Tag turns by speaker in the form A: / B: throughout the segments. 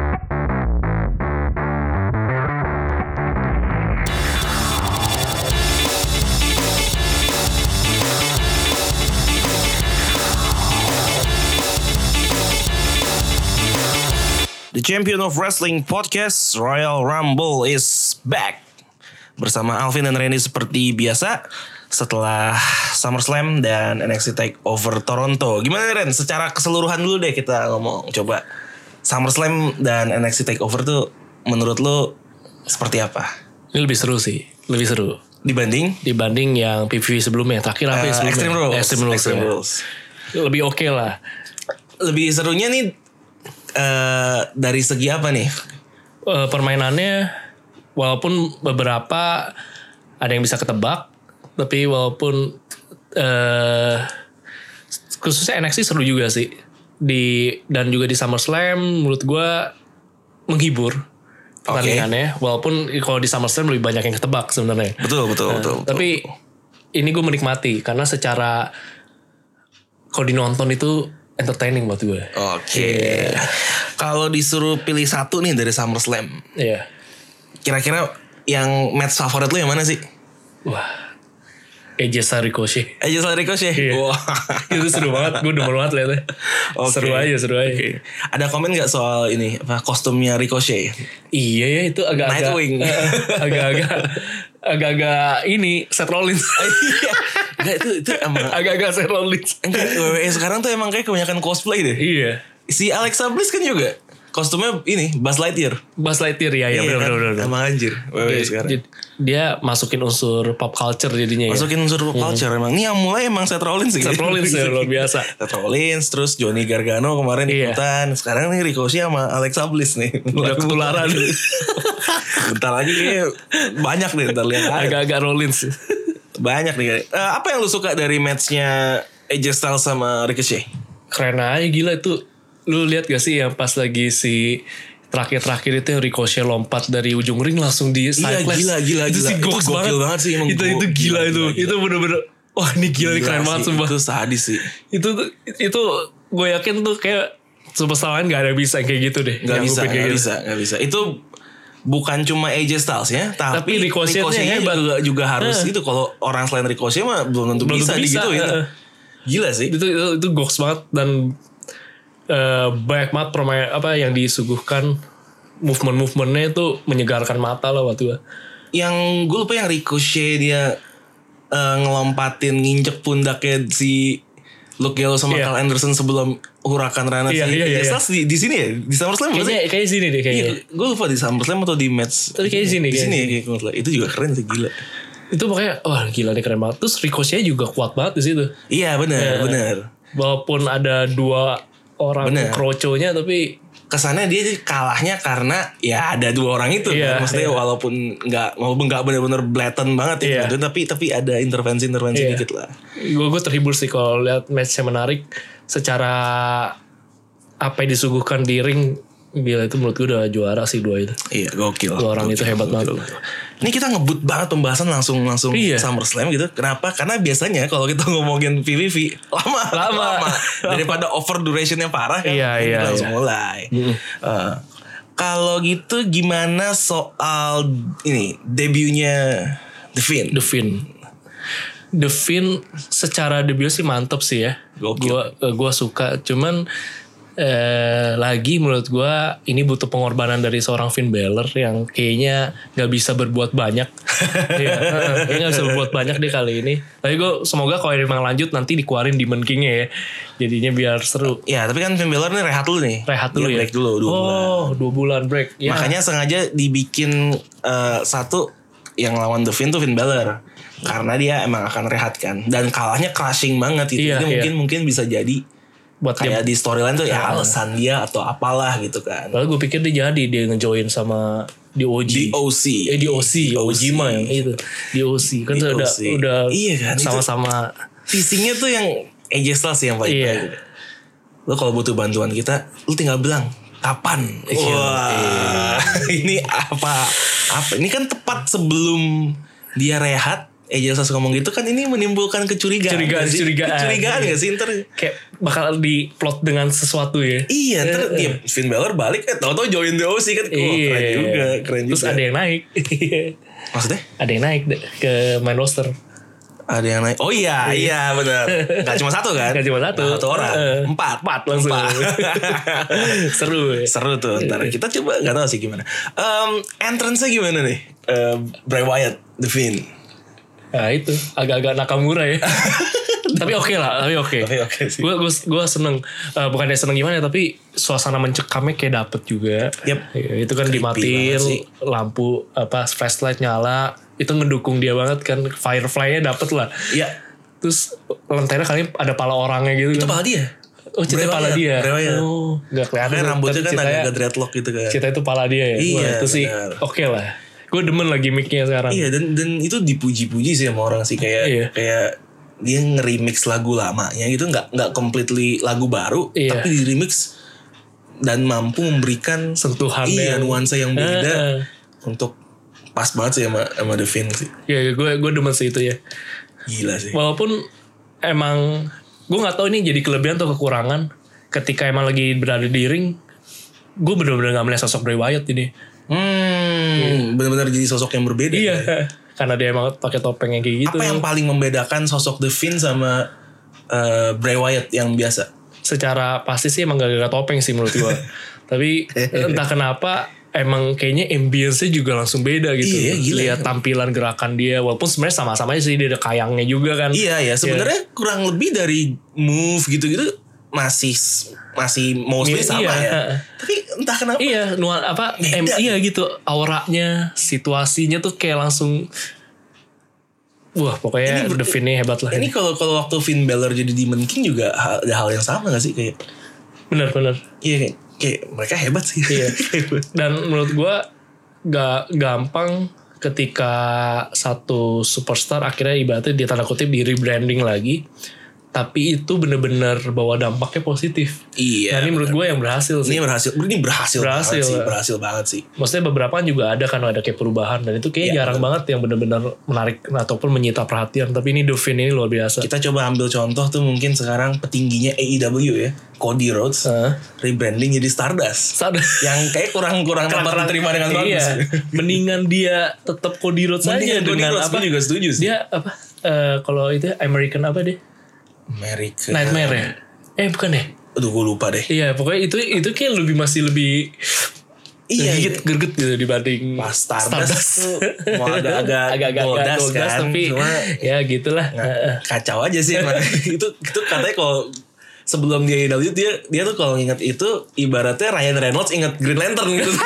A: The champion of wrestling podcast Royal Rumble is back bersama Alvin dan Randy seperti biasa setelah SummerSlam dan NXT Takeover Toronto. Gimana nih, Ren? Secara keseluruhan dulu deh kita ngomong. Coba SummerSlam dan NXT Takeover tuh menurut lu seperti apa?
B: Ini lebih seru sih, lebih seru
A: Dibanding
B: dibanding yang PPV sebelumnya. Terakhir apa yang
A: eh,
B: sebelumnya?
A: Extreme Rules.
B: Extreme Rules,
A: Extreme
B: ya.
A: Rules.
B: Lebih oke lah.
A: Lebih serunya nih eh dari segi apa nih?
B: Eh, permainannya walaupun beberapa ada yang bisa ketebak, tapi walaupun eh khususnya NXT seru juga sih. Di dan juga di SummerSlam menurut gua menghibur pertandingannya walaupun kalau di SummerSlam lebih banyak yang ketebak sebenarnya.
A: Betul, betul, betul. betul.
B: Nah, Tapi ini gue menikmati karena secara kalau dinonton itu entertaining buat gue.
A: Oke.
B: iya.
A: Kalau disuruh pilih satu nih dari SummerSlam,
B: Iya.
A: kira-kira yang match favorit lu yang mana sih?
B: Wah. AJ Styles Ricochet.
A: Aja soal Ricochet.
B: Iya.
A: Wah.
B: itu seru banget. Gue demen banget liatnya.
A: Oke.
B: Seru aja, seru aja.
A: Oke. Ada komen nggak soal ini apa kostumnya Ricochet?
B: Iya ya itu agak-agak.
A: Nightwing.
B: Eh, Agak-agak. Agak-agak ini Seth Rollins.
A: Iya. Nggak, itu itu emang
B: agak-agak Seth Rollins.
A: enggak, WWE sekarang tuh emang kayak kebanyakan cosplay deh.
B: Iya.
A: Si Alexa Bliss kan juga kostumnya ini Buzz Lightyear.
B: Buzz Lightyear ya, ya,
A: Iya kan?
B: benar-benar.
A: Emang anjir WWE sekarang.
B: Dia masukin unsur pop culture jadinya ya.
A: Masukin unsur pop culture emang. Ini yang mulai emang Seth Rollins sih.
B: Seth Rollins ya luar biasa.
A: Seth Rollins, terus Johnny Gargano kemarin
B: Iya.
A: ikutan. Sekarang nih Ricochet sama Alexa Bliss nih.
B: Udah ketularan.
A: bentar lagi kayaknya banyak deh ntar lihat aja.
B: Agak-agak Rollins.
A: Banyak nih. Eh, apa yang lu suka dari matchnya AJ Styles sama Ricochet?
B: Keren aja gila itu. Lu lihat gak sih yang pas lagi si terakhir-terakhir itu yang Ricochet lompat dari ujung ring langsung di
A: Iya,
B: sideline.
A: gila, gila,
B: Itu
A: gila.
B: sih
A: Itu
B: goks
A: gokil
B: banget.
A: banget sih, emang
B: Itu,
A: go-
B: itu gila,
A: gila,
B: itu.
A: gila, gila.
B: Itu bener-bener. Wah ini gila, ini keren
A: Gila
B: banget
A: sih,
B: sumpah.
A: Itu sadis sih.
B: Itu tuh- itu gue yakin tuh kayak superstar lain gak ada yang bisa kayak gitu deh.
A: Gak
B: Yang
A: bisa,
B: ngupin kayak
A: gak
B: gitu.
A: bisa, gak bisa. Itu bukan cuma AJ Styles ya, tapi,
B: Tapi Ricochet-nya
A: Ricochet-nya
B: hebat.
A: juga, juga harus
B: Eh.
A: gitu. Kalau orang selain Ricochet mah belum tentu
B: Belum
A: bisa,
B: tentu bisa,
A: gitu
B: eh.
A: Gila sih.
B: itu itu, itu goks banget dan eh, banyak banget permain apa yang disuguhkan movement movementnya itu menyegarkan mata lah waktu itu
A: Yang gue lupa yang Ricochet dia eh, ngelompatin nginjek pundaknya si Luke Gallows sama
B: Iya.
A: Carl Anderson sebelum Huracan Rana
B: Iya,
A: si
B: iya, iya,
A: AJ Styles di, di sini ya di SummerSlam bukan sih?
B: kayaknya kayak sini deh kayaknya
A: Iya, gue lupa di SummerSlam atau di match.
B: Tapi kayaknya sini,
A: Di sini
B: kayaknya
A: ya, kayak gue lupa. Itu juga keren sih gila.
B: itu makanya wah gila nih keren banget terus ricochet juga kuat banget di situ
A: Iya benar, benar.
B: walaupun ada dua orang
A: Bener.
B: kroconya tapi
A: Kesannya dia jadi kalahnya karena ya ada dua orang itu.
B: Iya,
A: kan. Maksudnya walaupun nggak walaupun nggak benar-benar blatant banget ya,
B: Iya.
A: gitu. tapi tapi ada intervensi-intervensi
B: Iya.
A: dikit lah.
B: gue gue terhibur sih kalau lihat match yang menarik secara apa yang disuguhkan di ring gila itu menurut gue udah juara sih dua itu
A: Iya, gokil.
B: Dua orang itu hebat banget.
A: Ini kita ngebut banget pembahasan langsung langsung
B: Iya.
A: SummerSlam gitu. Kenapa? Karena biasanya kalau kita ngomongin PVV lama
B: Lama.
A: daripada over durationnya parah kan.
B: Iya,
A: Ini
B: iya,
A: langsung
B: iya.
A: mulai. Eh, kalau gitu gimana soal ini debutnya The Fiend?
B: The Fin. The Fin secara debut sih mantep sih ya.
A: Gokil.
B: Gua eh, gua suka cuman eh lagi menurut gua ini butuh pengorbanan dari seorang Finn Balor yang kayaknya nggak bisa berbuat banyak. Iya, heeh, kayaknya nggak bisa berbuat banyak deh kali ini. Tapi gua semoga kalau emang lanjut nanti dikeluarin di King-nya ya. Jadinya biar seru.
A: Ya tapi kan Finn Balor nih rehat dulu nih.
B: Rehat
A: Dia
B: dulu ya.
A: Iya, break dulu dua
B: oh,
A: bulan.
B: dua bulan break. Ya.
A: Makanya sengaja dibikin eh, satu yang lawan The Finn tuh Finn Balor karena dia emang akan rehat kan dan kalahnya crushing banget gitu.
B: Iya,
A: Jadi
B: iya.
A: mungkin mungkin bisa jadi
B: buat dia Ah.
A: kayak di storyline tuh ya alasan dia atau apalah gitu kan.
B: Lalu gue pikir dia jadi dia ngejoin sama di OG.
A: Ya, Di OC.
B: Eh di OC, OG mah yang itu. Di OC kan
A: ya. Di
B: udah
A: OC.
B: udah
A: Iya kan, itu-
B: sama-sama
A: Teasingnya tuh yang AJ Styles yang paling
B: Iya.
A: Lo kalau butuh bantuan kita, lu tinggal bilang Kapan? Wah, ini apa? Apa? Ini kan tepat sebelum dia rehat. Eh jelas ngomong gitu kan ini menimbulkan kecurigaan.
B: Curigaan,
A: nggak sih?
B: curigaan.
A: Kecurigaan gak sih? Ntar
B: Kayak bakal diplot dengan sesuatu ya.
A: Iya, ntar dia Finn Balor balik eh tau-tau join the OC kan. Wah, keren juga, keren
B: Iya. Terus
A: juga.
B: ada yang naik. Iya.
A: Maksudnya?
B: ada yang naik deh ke main roster.
A: Ada yang naik. Oh iya, iya benar. Gak cuma satu kan?
B: Gak cuma satu.
A: Satu orang.
B: Eh,
A: Empat.
B: Empat langsung. Seru ya.
A: Iya, Seru tuh. Ntar kita coba nggak tahu sih gimana. Em entrance-nya gimana nih? Em, Bray Wyatt, The Fiend.
B: Nah itu agak-agak nakamura ya. tapi oke lah, tapi oke.
A: Tapi oke sih.
B: Gue gue gue seneng. Eh, bukannya seneng gimana tapi suasana mencekamnya kayak dapet juga.
A: Yep.
B: Ya, itu kan
A: Creepy
B: dimatiin
A: banget sih.
B: lampu apa flashlight nyala itu ngedukung dia banget kan Firefly-nya dapet lah.
A: Iya.
B: Terus lantainya kali ada pala orangnya gitu
A: Itu
B: kan.
A: pala dia.
B: Oh cerita
A: Bray
B: pala
A: Wyatt,
B: dia.
A: Bray Wyatt.
B: Oh nggak kelihatan.
A: Karena rambutnya
B: tapi
A: kan
B: ceritanya-
A: agak dreadlock gitu kan.
B: Cerita itu pala dia ya. Wah,
A: Iya,
B: itu sih
A: benar.
B: oke lah. Gue demen lah gimmicknya sekarang.
A: Iya dan dan itu dipuji-puji sih sama orang sih kayak
B: Iya.
A: kayak dia nge-remix lagu lamanya gitu nggak nggak completely lagu baru
B: Iya.
A: tapi di remix dan mampu memberikan
B: Sentuhan
A: iya,
B: yang-
A: nuansa yang beda
B: Eh, eh.
A: untuk pas banget sih sama sama The Fin sih
B: Ya gue gue demen sih itu ya.
A: gila sih
B: Walaupun emang gue nggak tahu ini jadi kelebihan atau kekurangan ketika emang lagi berada di ring gue bener-bener gak melihat sosok Bray Wyatt ini
A: hmm benar-benar jadi sosok yang berbeda
B: iya
A: ya.
B: karena dia emang pakai topeng yang kayak gitu
A: apa yang paling membedakan sosok The Fin sama eh, Bray Wyatt yang biasa
B: secara pasti sih emang gak gak topeng sih menurut gue tapi entah kenapa emang kayaknya ambience-nya juga langsung beda gitu
A: Iya, gila.
B: lihat tampilan gerakan dia walaupun sebenarnya sama-sama sih dia ada kayangnya juga kan
A: Iya ya, sebenarnya kurang lebih dari move gitu-gitu masih masih mostly
B: Iya,
A: sama
B: iya.
A: ya. Tapi entah kenapa
B: Iya, nuan apa? Em,
A: Beda.
B: iya gitu, auranya, situasinya tuh kayak langsung. Wah, pokoknya
A: Ini ber-
B: The Fin ini hebat lah.
A: ini kalau kalau waktu Finn Balor jadi Demon King juga hal- ada hal yang sama gak sih kayak
B: Bener bener.
A: iya kayak, kayak mereka hebat sih.
B: Iya. Dan menurut gua gak gampang ketika satu superstar akhirnya ibaratnya dia tanda kutip di rebranding lagi, tapi itu bener-bener bawa dampaknya positif.
A: iya.
B: nah, ini menurut gua yang berhasil sih.
A: Ini berhasil, ini berhasil,
B: Berhasil,
A: banget sih,
B: lah.
A: berhasil banget sih.
B: Maksudnya beberapa kan juga ada kan ada kayak perubahan dan itu
A: Iya,
B: kayaknya jarang banget yang benar-benar menarik ataupun menyita perhatian. Tapi ini Dovin ini luar biasa.
A: Kita coba ambil contoh tuh mungkin sekarang petingginya AEW ya, Cody Rhodes
B: Heeh.
A: rebranding jadi Stardust.
B: Sadar.
A: yang kayak kurang-kurang dapat diterima dengan Ya, bagus.
B: Iya. Mendingan dia tetap Cody Rhodes aja
A: Mendingan Cody
B: gitu dengan
A: Rhodes,
B: apa?
A: gua juga setuju sih.
B: Dia apa? eh, kalau itu American apa deh?
A: America.
B: Nightmare ya? Eh bukan deh.
A: Aduh gue lupa deh.
B: Iya pokoknya itu itu kayak lebih masih lebih
A: Iya,
B: gerget gerget gitu dibanding
A: Pas Stardust tuh mau agak-agak
B: agak-agak
A: goldas
B: goldas,
A: kan,
B: tapi
A: cuma
B: ya gitulah. Heeh.
A: kacau aja sih emang. itu itu katanya kalau sebelum dia AEW dia dia tuh kalau inget itu ibaratnya Ryan Reynolds inget Green Lantern gitu.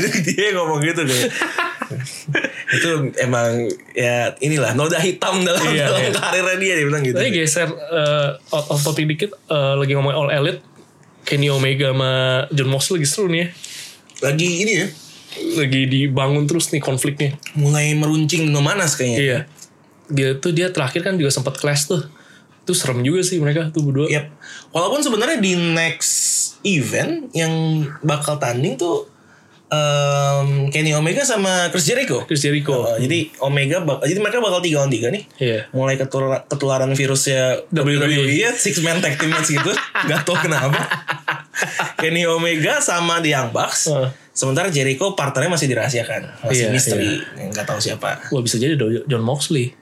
A: itu dia yang ngomong gitu deh. itu emang ya inilah noda hitam dalam
B: Iya,
A: dalam
B: iya.
A: karirnya dia dia bilang gitu.
B: Tapi geser eh, out of topic dikit eh, lagi ngomongin All Elite Kenny Omega sama John Moxley lagi seru nih ya.
A: Lagi ini ya
B: Lagi dibangun terus nih konfliknya.
A: mulai meruncing no manas kayaknya.
B: Iya. Dia tuh dia terakhir kan juga sempat clash tuh. Itu serem juga sih mereka tuh berdua.
A: Yap. Walaupun sebenarnya di next event yang bakal tanding tuh em, Kenny Omega sama Chris Jericho.
B: Chris Jericho.
A: Uh, jadi Omega bak- jadi mereka bakal 3 lawan 3 nih.
B: Iya. E.
A: Mulai ketular- ketularan virusnya
B: WWE.
A: ya six man tag team match gitu. Gak tau kenapa. Kenny Omega sama The Young Bucks.
B: Heeh.
A: Sementara Jericho partnernya masih dirahasiakan,
B: Iya,
A: masih misteri, nggak tahu siapa.
B: Wah bisa jadi dong John Moxley.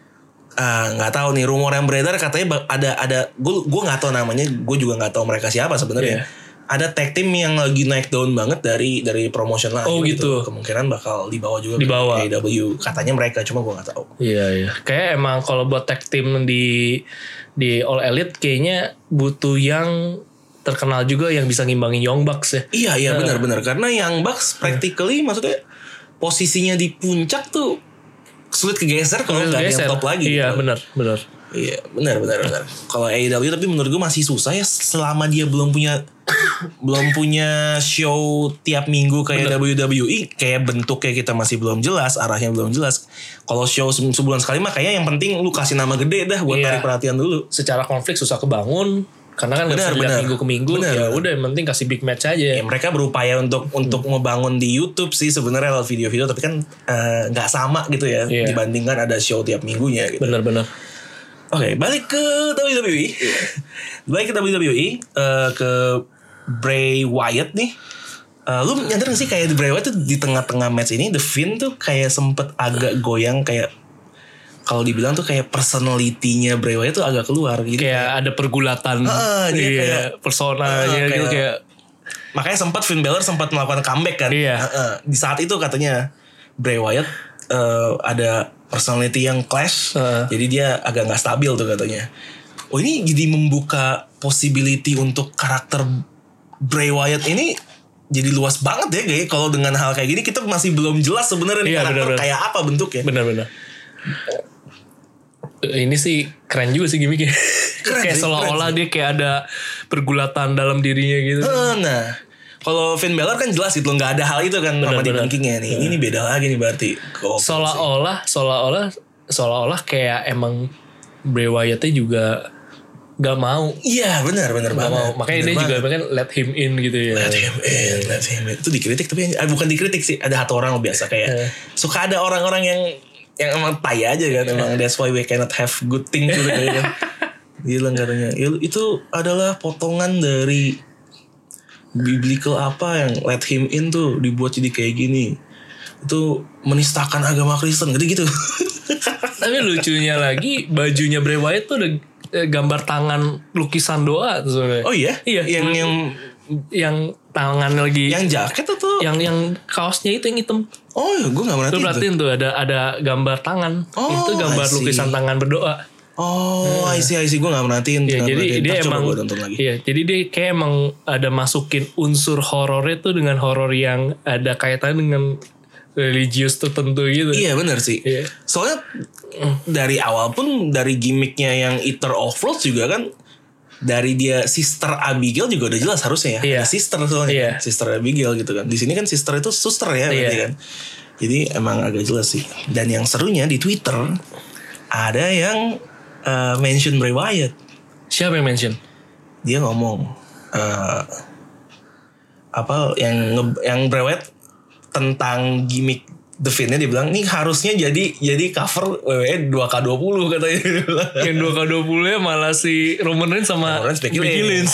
A: Ah, nggak tahu nih rumor yang beredar katanya bak- ada ada gue gue nggak tahu namanya gue juga nggak tahu mereka siapa
B: Iya.
A: sebenarnya ada tag team yang lagi naik daun banget dari dari promotion lain
B: Oh, gitu.
A: kemungkinan bakal dibawa juga
B: Dibawa.
A: ke AEW katanya mereka cuma gue nggak tahu
B: Iya iya. Kayak emang kalau buat tag team di di All Elite kayaknya butuh yang terkenal juga yang bisa ngimbangin Young Bucks ya.
A: iya iya benar-benar karena yang
B: Iya.
A: Bucks practically maksudnya posisinya di puncak tuh sulit kegeser kalau Oh, nggak ada yang
B: Geser.
A: top lagi gitu.
B: Iya benar benar.
A: Iya benar benar benar. Kalau AEW tapi menurut gue masih susah ya selama dia belum punya belum punya show tiap minggu kayak WWE kayak bentuknya kita masih belum jelas arahnya belum jelas. Kalau show se- sebulan sekali mah kayaknya yang penting lu kasih nama gede dah buat
B: Iya.
A: tarik perhatian dulu.
B: Secara konflik susah kebangun. Karena kan nggak bisa
A: Benar,
B: dilihat
A: benar.
B: minggu ke minggu.
A: Benar.
B: Ya udah yang penting kasih big match
A: Ya,
B: aja.
A: mereka berupaya untuk untuk membangun di YouTube sih sebenarnya lewat video-video tapi kan eh, nggak sama gitu ya
B: Iya.
A: dibandingkan ada show tiap minggunya gitu.
B: Bener-bener.
A: Oke, balik ke WWE. balik ke WWE eh, ke Bray Wyatt nih. Eh, lu nyadar gak sih kayak Bray Wyatt tuh di tengah-tengah match ini The Fiend tuh kayak sempet agak goyang kayak kalau dibilang tuh kayak personality-nya Bray Wyatt tuh agak keluar gitu.
B: Kayak ada pergulatan.
A: Ah, dia
B: iya,
A: kayak-
B: personanya
A: Ah,
B: gitu
A: kayak-
B: kayak
A: Makanya sempat Finn Balor sempat melakukan comeback kan.
B: Iya.
A: Heeh. di saat itu katanya Bray Wyatt eh, ada personality yang clash.
B: Heeh.
A: Jadi dia agak nggak stabil tuh katanya. Oh ini jadi membuka possibility untuk karakter Bray Wyatt ini jadi luas banget ya kayak kalau dengan hal kayak gini kita masih belum jelas sebenarnya nih
B: Iya,
A: karakter
B: benar-benar.
A: kayak apa bentuknya.
B: bener-bener. Eh, Ini sih keren juga sih gimmicknya. kayak
A: sih,
B: seolah-olah dia kayak ada pergulatan dalam dirinya gitu.
A: Eh, nah, kalau Finn Balor kan jelas gitu loh nggak ada hal itu kan sama di
B: Benar-benar.
A: bankingnya nih. Ini,
B: Iya.
A: nih beda lagi nih berarti. Kok
B: seolah-olah seolah-olah seolah-olah kayak emang Bray Wyatt-nya juga gak mau
A: Iya benar
B: gak
A: benar banget.
B: mau makanya
A: Benar
B: dia juga
A: banget.
B: kan let him in gitu ya
A: Let him in, let him in. Itu dikritik tapi eh, bukan dikritik sih. Ada satu orang biasa kayak
B: Eh.
A: suka ada orang-orang yang yang emang tai aja kan
B: Eh.
A: emang that's why we cannot have good thing gitu kayaknya. Gila katanya. "Il- Itu adalah potongan dari biblical apa yang let him in tuh dibuat jadi kayak gini. Itu menistakan agama Kristen gitu gitu.
B: tapi lucunya lagi bajunya Bray Wyatt tuh ada eh, gambar tangan lukisan doa tuh sebenarnya.
A: oh iya?
B: Iya.
A: Yang yang
B: yang tangan lagi
A: yang
B: yang
A: jaket atau?
B: yang, kaosnya itu yang hitam
A: Oh, gue gak
B: Lu
A: merhatiin tuh.
B: perhatiin tuh ada ada gambar tangan
A: Oh,
B: itu gambar
A: I see.
B: lukisan tangan berdoa
A: Oh, I see, I see. Gue gak merhatiin.
B: Ya,
A: nggak
B: jadi
A: merhatiin.
B: dia
A: Ntar
B: emang
A: Coba gue nonton lagi.
B: Iya, jadi dia kayak emang ada masukin unsur horornya tuh dengan horor yang ada kaitan dengan religius tertentu gitu.
A: Iya bener sih.
B: Iya.
A: Soalnya dari awal pun dari gimmicknya yang Eater of Worlds juga kan dari dia Sister Abigail juga udah jelas harusnya ya.
B: Iya.
A: Ada sister soalnya.
B: Iya.
A: Sister Abigail gitu kan. Di sini kan sister itu suster ya berarti
B: Iya.
A: kan. Jadi emang agak jelas sih. Dan yang serunya di Twitter ada yang eh, mention Bray Wyatt.
B: Siapa yang mention?
A: Dia ngomong eh, apa yang nge- yang Bray Wyatt tentang gimmick The Fiend-nya dia bilang nih harusnya jadi jadi cover E WWE 2K20 katanya. Dia bilang.
B: yang 2K20 ya malah si Roman Reigns sama
A: Roman Reigns, Becky Lynch.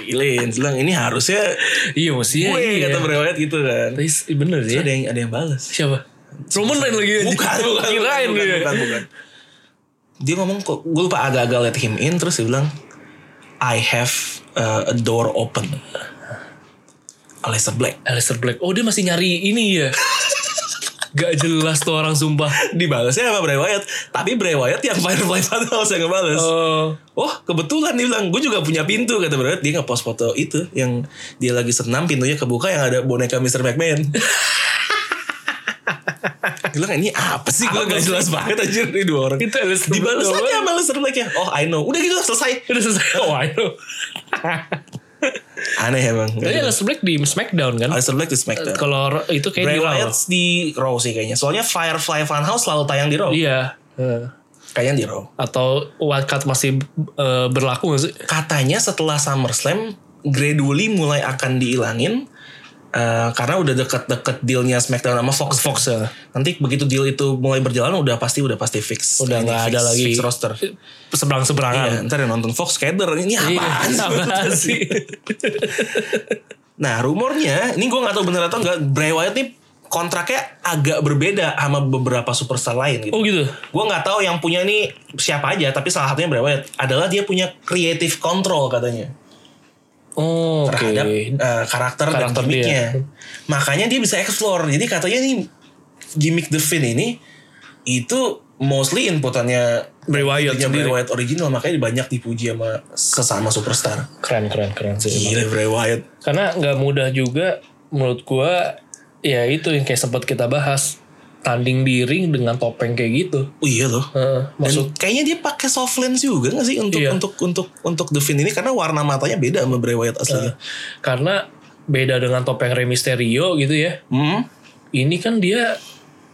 A: Becky Lynch bilang ini harusnya
B: iya, mestinya.
A: gue
B: iya.
A: kata Bray Wyatt gitu kan.
B: Tapi s- bener
A: Terus
B: ya.
A: ada yang ada yang balas.
B: Siapa? Roman Reigns lagi anjing.
A: Bukan, bukan,
B: Kirain
A: bukan,
B: dia.
A: bukan, bukan. Dia ngomong kok gue lupa agak-agak let him in terus dia bilang I have uh, a door open. Alyssa Black
B: Aleister Black. Oh, dia masih nyari ini ya. Gak jelas tuh orang sumpah.
A: dibalasnya sama Bray Wyatt tapi Bray Wyatt yang Firefly Funhouse yang ngebales
B: Oh,
A: Oh kebetulan dia bilang Gue juga punya pintu Kata Bray Wyatt Dia ngepost foto itu Yang dia lagi senam Pintunya kebuka Yang ada boneka Mr. McMahon Gue bilang ini apa sih Gue
B: Apa
A: gak
B: sih?
A: jelas banget anjir Ini dua orang
B: Itu Alistair
A: Dibalas
B: Black
A: aja
B: doang.
A: sama Alistair Black ya Oh I know Udah gitu lah, selesai
B: udah selesai. Oh, I know.
A: Aneh emang
B: Tapi
A: Gak jelas.
B: Aleister Black di SmackDown kan?
A: Alistair Black di Smackdown
B: Kalau ro- itu kayak
A: Bray
B: di Raw.
A: Wyatt di Raw sih kayaknya Soalnya Firefly Funhouse selalu tayang di Raw
B: Iya.
A: Kayaknya di Raw
B: Atau wildcard masih eh, berlaku gak sih?
A: katanya setelah SummerSlam gradually mulai akan dihilangin eh, karena udah deket-deket dealnya SmackDown sama Fox Fox.
B: Fox ya.
A: Nanti begitu deal itu mulai berjalan udah pasti udah pasti fix.
B: Udah
A: Ini
B: nggak
A: fix-
B: ada lagi.
A: fix roster. Iya,
B: Seberang-seberangan.
A: ntar yang nonton Fox keder ini
B: Iya,
A: apaan sih?
B: Apa sih?
A: Nah rumornya ini gue nggak tahu bener atau enggak Bray Wyatt nih kontraknya agak berbeda sama beberapa superstar lain gitu.
B: Oh gitu.
A: Gue nggak tahu yang punya nih siapa aja tapi salah satunya Bray Wyatt adalah dia punya creative control katanya.
B: Oh, oke.
A: terhadap eh, karakter, dan
B: Karakter
A: gimmicknya. Makanya dia bisa explore. Jadi katanya nih gimmick The Fin ini itu mostly inputannya
B: Bray Wyatt
A: punya Bray
B: sendiri.
A: Wyatt original makanya banyak dipuji sama sesama superstar.
B: Keren, keren, keren sih.
A: Gila Bray Wyatt.
B: Karena nggak mudah juga menurut gua ya itu yang kayak sempat kita bahas tanding di ring dengan topeng kayak gitu.
A: Oh iya loh.
B: Heeh,
A: Dan
B: maksud
A: kayaknya dia pakai soft lens juga gak sih untuk
B: Iya.
A: untuk untuk untuk The Fin ini karena warna matanya beda sama Bray Wyatt
B: Eh.
A: aslinya.
B: karena beda dengan topeng Rey Mysterio gitu ya.
A: Hmm.
B: ini kan dia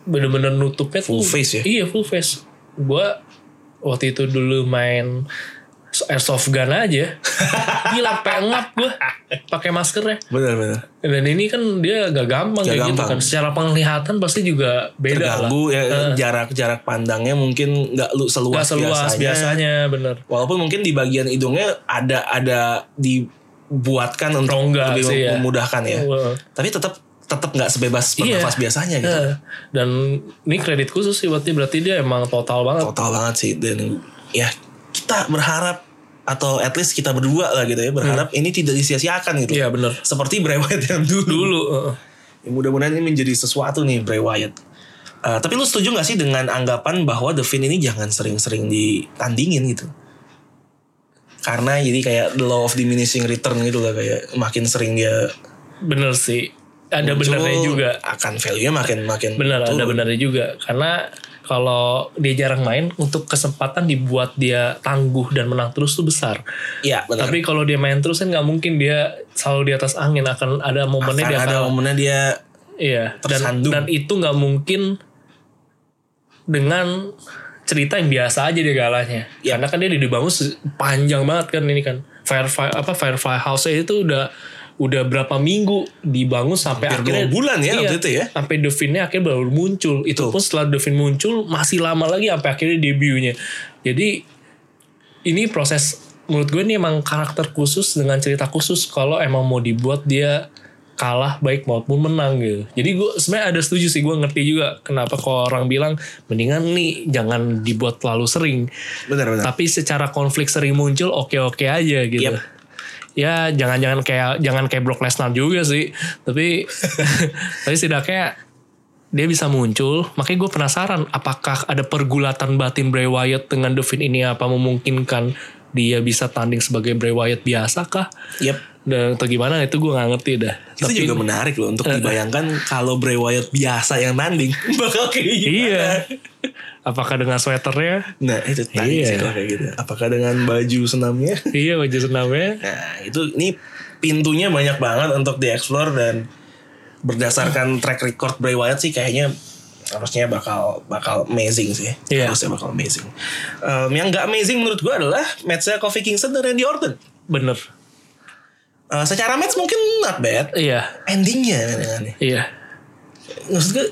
B: bener-bener nutupnya
A: Full
B: tuh,
A: face ya?
B: Iya full face. Gua waktu itu dulu main airsoft gun aja. Gila pengen ngap gue pakai maskernya.
A: Bener bener.
B: Dan ini kan dia gak gampang
A: Nggak
B: kayak gitu
A: gampang.
B: kan. Secara penglihatan pasti juga beda lah.
A: Terganggu ya jarak jarak pandangnya mungkin nggak lu
B: Gak
A: seluas,
B: seluas biasanya. bener.
A: Walaupun mungkin di bagian hidungnya ada ada dibuatkan untuk
B: Rongga
A: lebih
B: sih ya.
A: memudahkan ya.
B: Wah.
A: Tapi tetap tetap nggak sebebas
B: Iya.
A: bernafas biasanya gitu.
B: Eh, Dan ini kredit khusus sih berarti berarti dia emang total banget.
A: total banget sih dan ya kita berharap atau at least kita berdua lah gitu ya berharap ini tidak disia-siakan gitu.
B: Hmm. Iya bener.
A: Seperti Bray Wyatt yang dulu.
B: Dulu eh.
A: Ya, Mudah-mudahan ini menjadi sesuatu nih Bray Wyatt. Eh, tapi lu setuju gak sih dengan anggapan bahwa The Fiend ini jangan sering-sering ditandingin gitu? Karena jadi kayak the law of diminishing return gitu lah kayak makin sering dia
B: bener sih. Ada
A: muncul,
B: benernya juga.
A: akan value-nya makin makin
B: Bener
A: turun.
B: ada benernya juga. Karena kalau dia jarang main untuk kesempatan dibuat dia tangguh dan menang terus tuh besar.
A: Iya, bener.
B: Tapi kalau dia main terus kan nggak mungkin dia selalu di atas angin akan ada momennya
A: Akan
B: dia
A: ada
B: akan
A: momennya dia
B: iya dan
A: tersandung.
B: dan itu nggak mungkin dengan cerita yang biasa aja dia galahnya.
A: Iya.
B: Karena kan dia dibangun se- panjang banget kan ini kan Firefly apa Firefly House itu udah udah berapa minggu dibangun sampai akhirnya
A: Hampir
B: iya,
A: dua bulan ya waktu itu ya.
B: sampai Devine akhirnya baru muncul itu
A: Betul.
B: pun setelah Devine muncul masih lama lagi sampai akhirnya debutnya jadi ini proses menurut gue ini emang karakter khusus dengan cerita khusus kalau emang mau dibuat dia kalah baik maupun menang gitu. Jadi gue sebenarnya ada setuju sih gue ngerti juga kenapa kalau orang bilang mendingan nih jangan dibuat terlalu sering.
A: bener bener.
B: Tapi secara konflik sering muncul oke-oke aja gitu.
A: Yep.
B: Ya jangan-jangan kayak jangan kayak Brock Lesnar juga sih. Tapi tapi setidaknya dia bisa muncul. Makanya gue penasaran apakah ada pergulatan batin Bray Wyatt dengan Devin ini apa memungkinkan dia bisa tanding sebagai Bray Wyatt biasa kah?
A: Yep.
B: Dan atau gimana itu gue nggak ngerti dah.
A: Itu juga menarik
B: Eh,
A: loh untuk dibayangkan kalau Bray Wyatt biasa yang tanding bakal kayak gimana.
B: Iya. Apakah dengan sweaternya?
A: Nah itu tadi
B: Iya.
A: sih kalau kayak gitu. Apakah dengan baju senamnya?
B: Iya baju senamnya.
A: Nah itu ini pintunya banyak banget untuk dieksplor dan berdasarkan track record Bray Wyatt sih kayaknya harusnya bakal bakal amazing sih.
B: Iya.
A: Harusnya bakal amazing. Em, yang gak amazing menurut gue adalah matchnya Kofi Kingston dan Randy Orton.
B: Bener.
A: Eh, secara match mungkin not bad.
B: Iya.
A: Endingnya aneh-aneh.
B: Iya.
A: maksud gue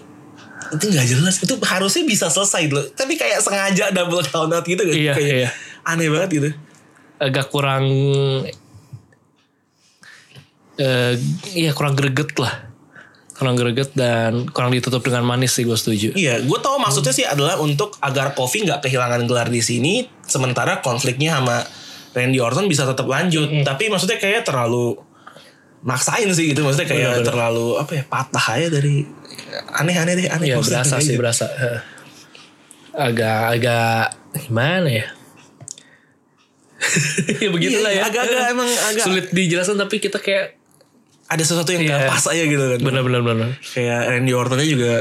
A: itu nggak jelas itu harusnya bisa selesai dulu tapi kayak sengaja double count out gitu kan
B: Iya,
A: kayak
B: iya.
A: aneh banget gitu
B: agak kurang eh iya kurang greget lah kurang greget dan kurang ditutup dengan manis sih gue setuju
A: iya gue tau
B: Hmm.
A: maksudnya sih adalah untuk agar Kofi nggak kehilangan gelar di sini sementara konfliknya sama Randy Orton bisa tetap lanjut
B: Hmm.
A: tapi maksudnya kayak terlalu maksain sih gitu maksudnya kayak
B: Bener-bener.
A: terlalu apa ya patah aja dari aneh-aneh deh aneh
B: iya
A: maksudnya
B: berasa
A: kayak
B: sih
A: gitu.
B: berasa Eh. agak agak gimana ya ya begitulah ya
A: Iya, agak-agak emang agak-
B: sulit dijelaskan tapi kita kayak
A: ada sesuatu yang nggak
B: Iya.
A: pas aja gitu kan
B: benar-benar benar
A: kayak Randy Ortonnya juga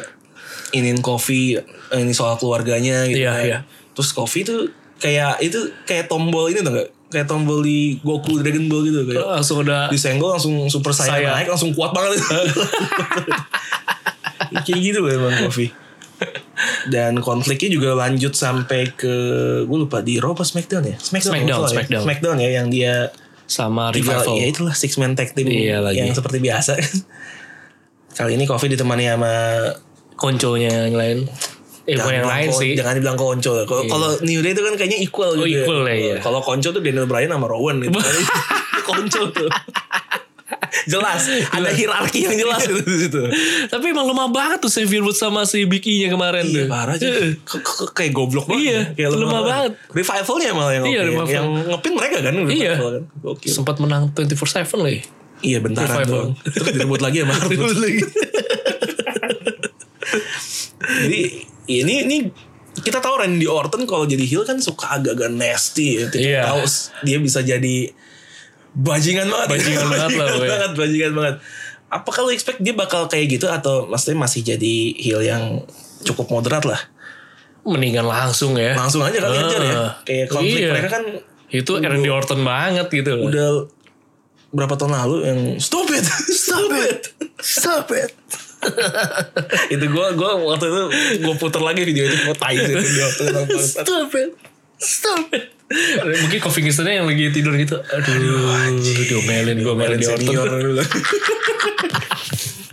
A: ingin Kofi eh, ini soal keluarganya gitu
B: Iya,
A: kan.
B: iya.
A: Terus Kofi tuh kayak itu kayak tombol ini tuh gak? Kayak tombol di Goku Dragon Ball gitu kayak.
B: langsung udah
A: Disenggol langsung super saya
B: Saya.
A: naik langsung kuat banget. kayak gitu loh emang Kofi. Dan konfliknya juga lanjut sampai ke gue lupa di Raw apa Smackdown ya? Smackdown,
B: Smackdown,
A: kalau nggak salah ya.
B: Smackdown.
A: Smackdown ya yang dia
B: sama
A: Tiga,
B: revival
A: ya itulah six man tag team
B: Iya, lagi.
A: yang seperti biasa. Kali ini Kofi ditemani sama
B: konconya yang lain eh bukan yang
A: jangan
B: lain
A: dibilang ko-
B: sih Iya.
A: Jangan dibilang konco. lah. Kalau kalau New Day itu kan kayaknya equal gitu.
B: equal lah, iya.
A: Kalau konco tuh Daniel Bryan sama Rowan gitu. konco tuh. jelas,
B: Iya.
A: ada hierarki yang jelas gitu di situ.
B: tapi emang lemah banget tuh Xavier Woods sama si Bikinya kemarin
A: Iya,
B: tuh
A: parah aja.
B: Eh.
A: K- k- kayak goblok banget.
B: Iya,
A: ya. Kayak
B: lemah banget.
A: Revivalnya malah yang
B: Iya,
A: oke.
B: revival.
A: Yang ngepin mereka kan
B: Iya.
A: revival kan. Gokil.
B: sempat menang 24/7 lagi.
A: Iya bentaran
B: Revival.
A: doang. Terus direbut lagi ya, sama Hartmut. Jadi ini ini kita tahu Randy Orton kalau jadi heel kan suka agak-agak nasty ya. Kita
B: Iya.
A: tahu dia bisa jadi bajingan banget.
B: Bajingan banget lah,
A: Bajingan
B: woy.
A: banget, bajingan banget. Apa kalau expect dia bakal kayak gitu atau maksudnya masih jadi heel yang cukup moderat lah?
B: Mendingan langsung ya.
A: Langsung aja kali
B: Ah,
A: aja ya. Kayak konflik
B: iya.
A: mereka kan
B: Itu Randy Orton banget gitu loh.
A: udah berapa tahun lalu yang stop it, stop it, stop it. Oh, itu gue gue waktu itu gue puter lagi video itu gue tai sih video waktu itu.
B: Stupid. Stop it. Mungkin Kofi Kingstonnya yang lagi tidur gitu. Aduh, diomelin gue omelin
A: Kemarin
B: di Orton.
A: senior dulu.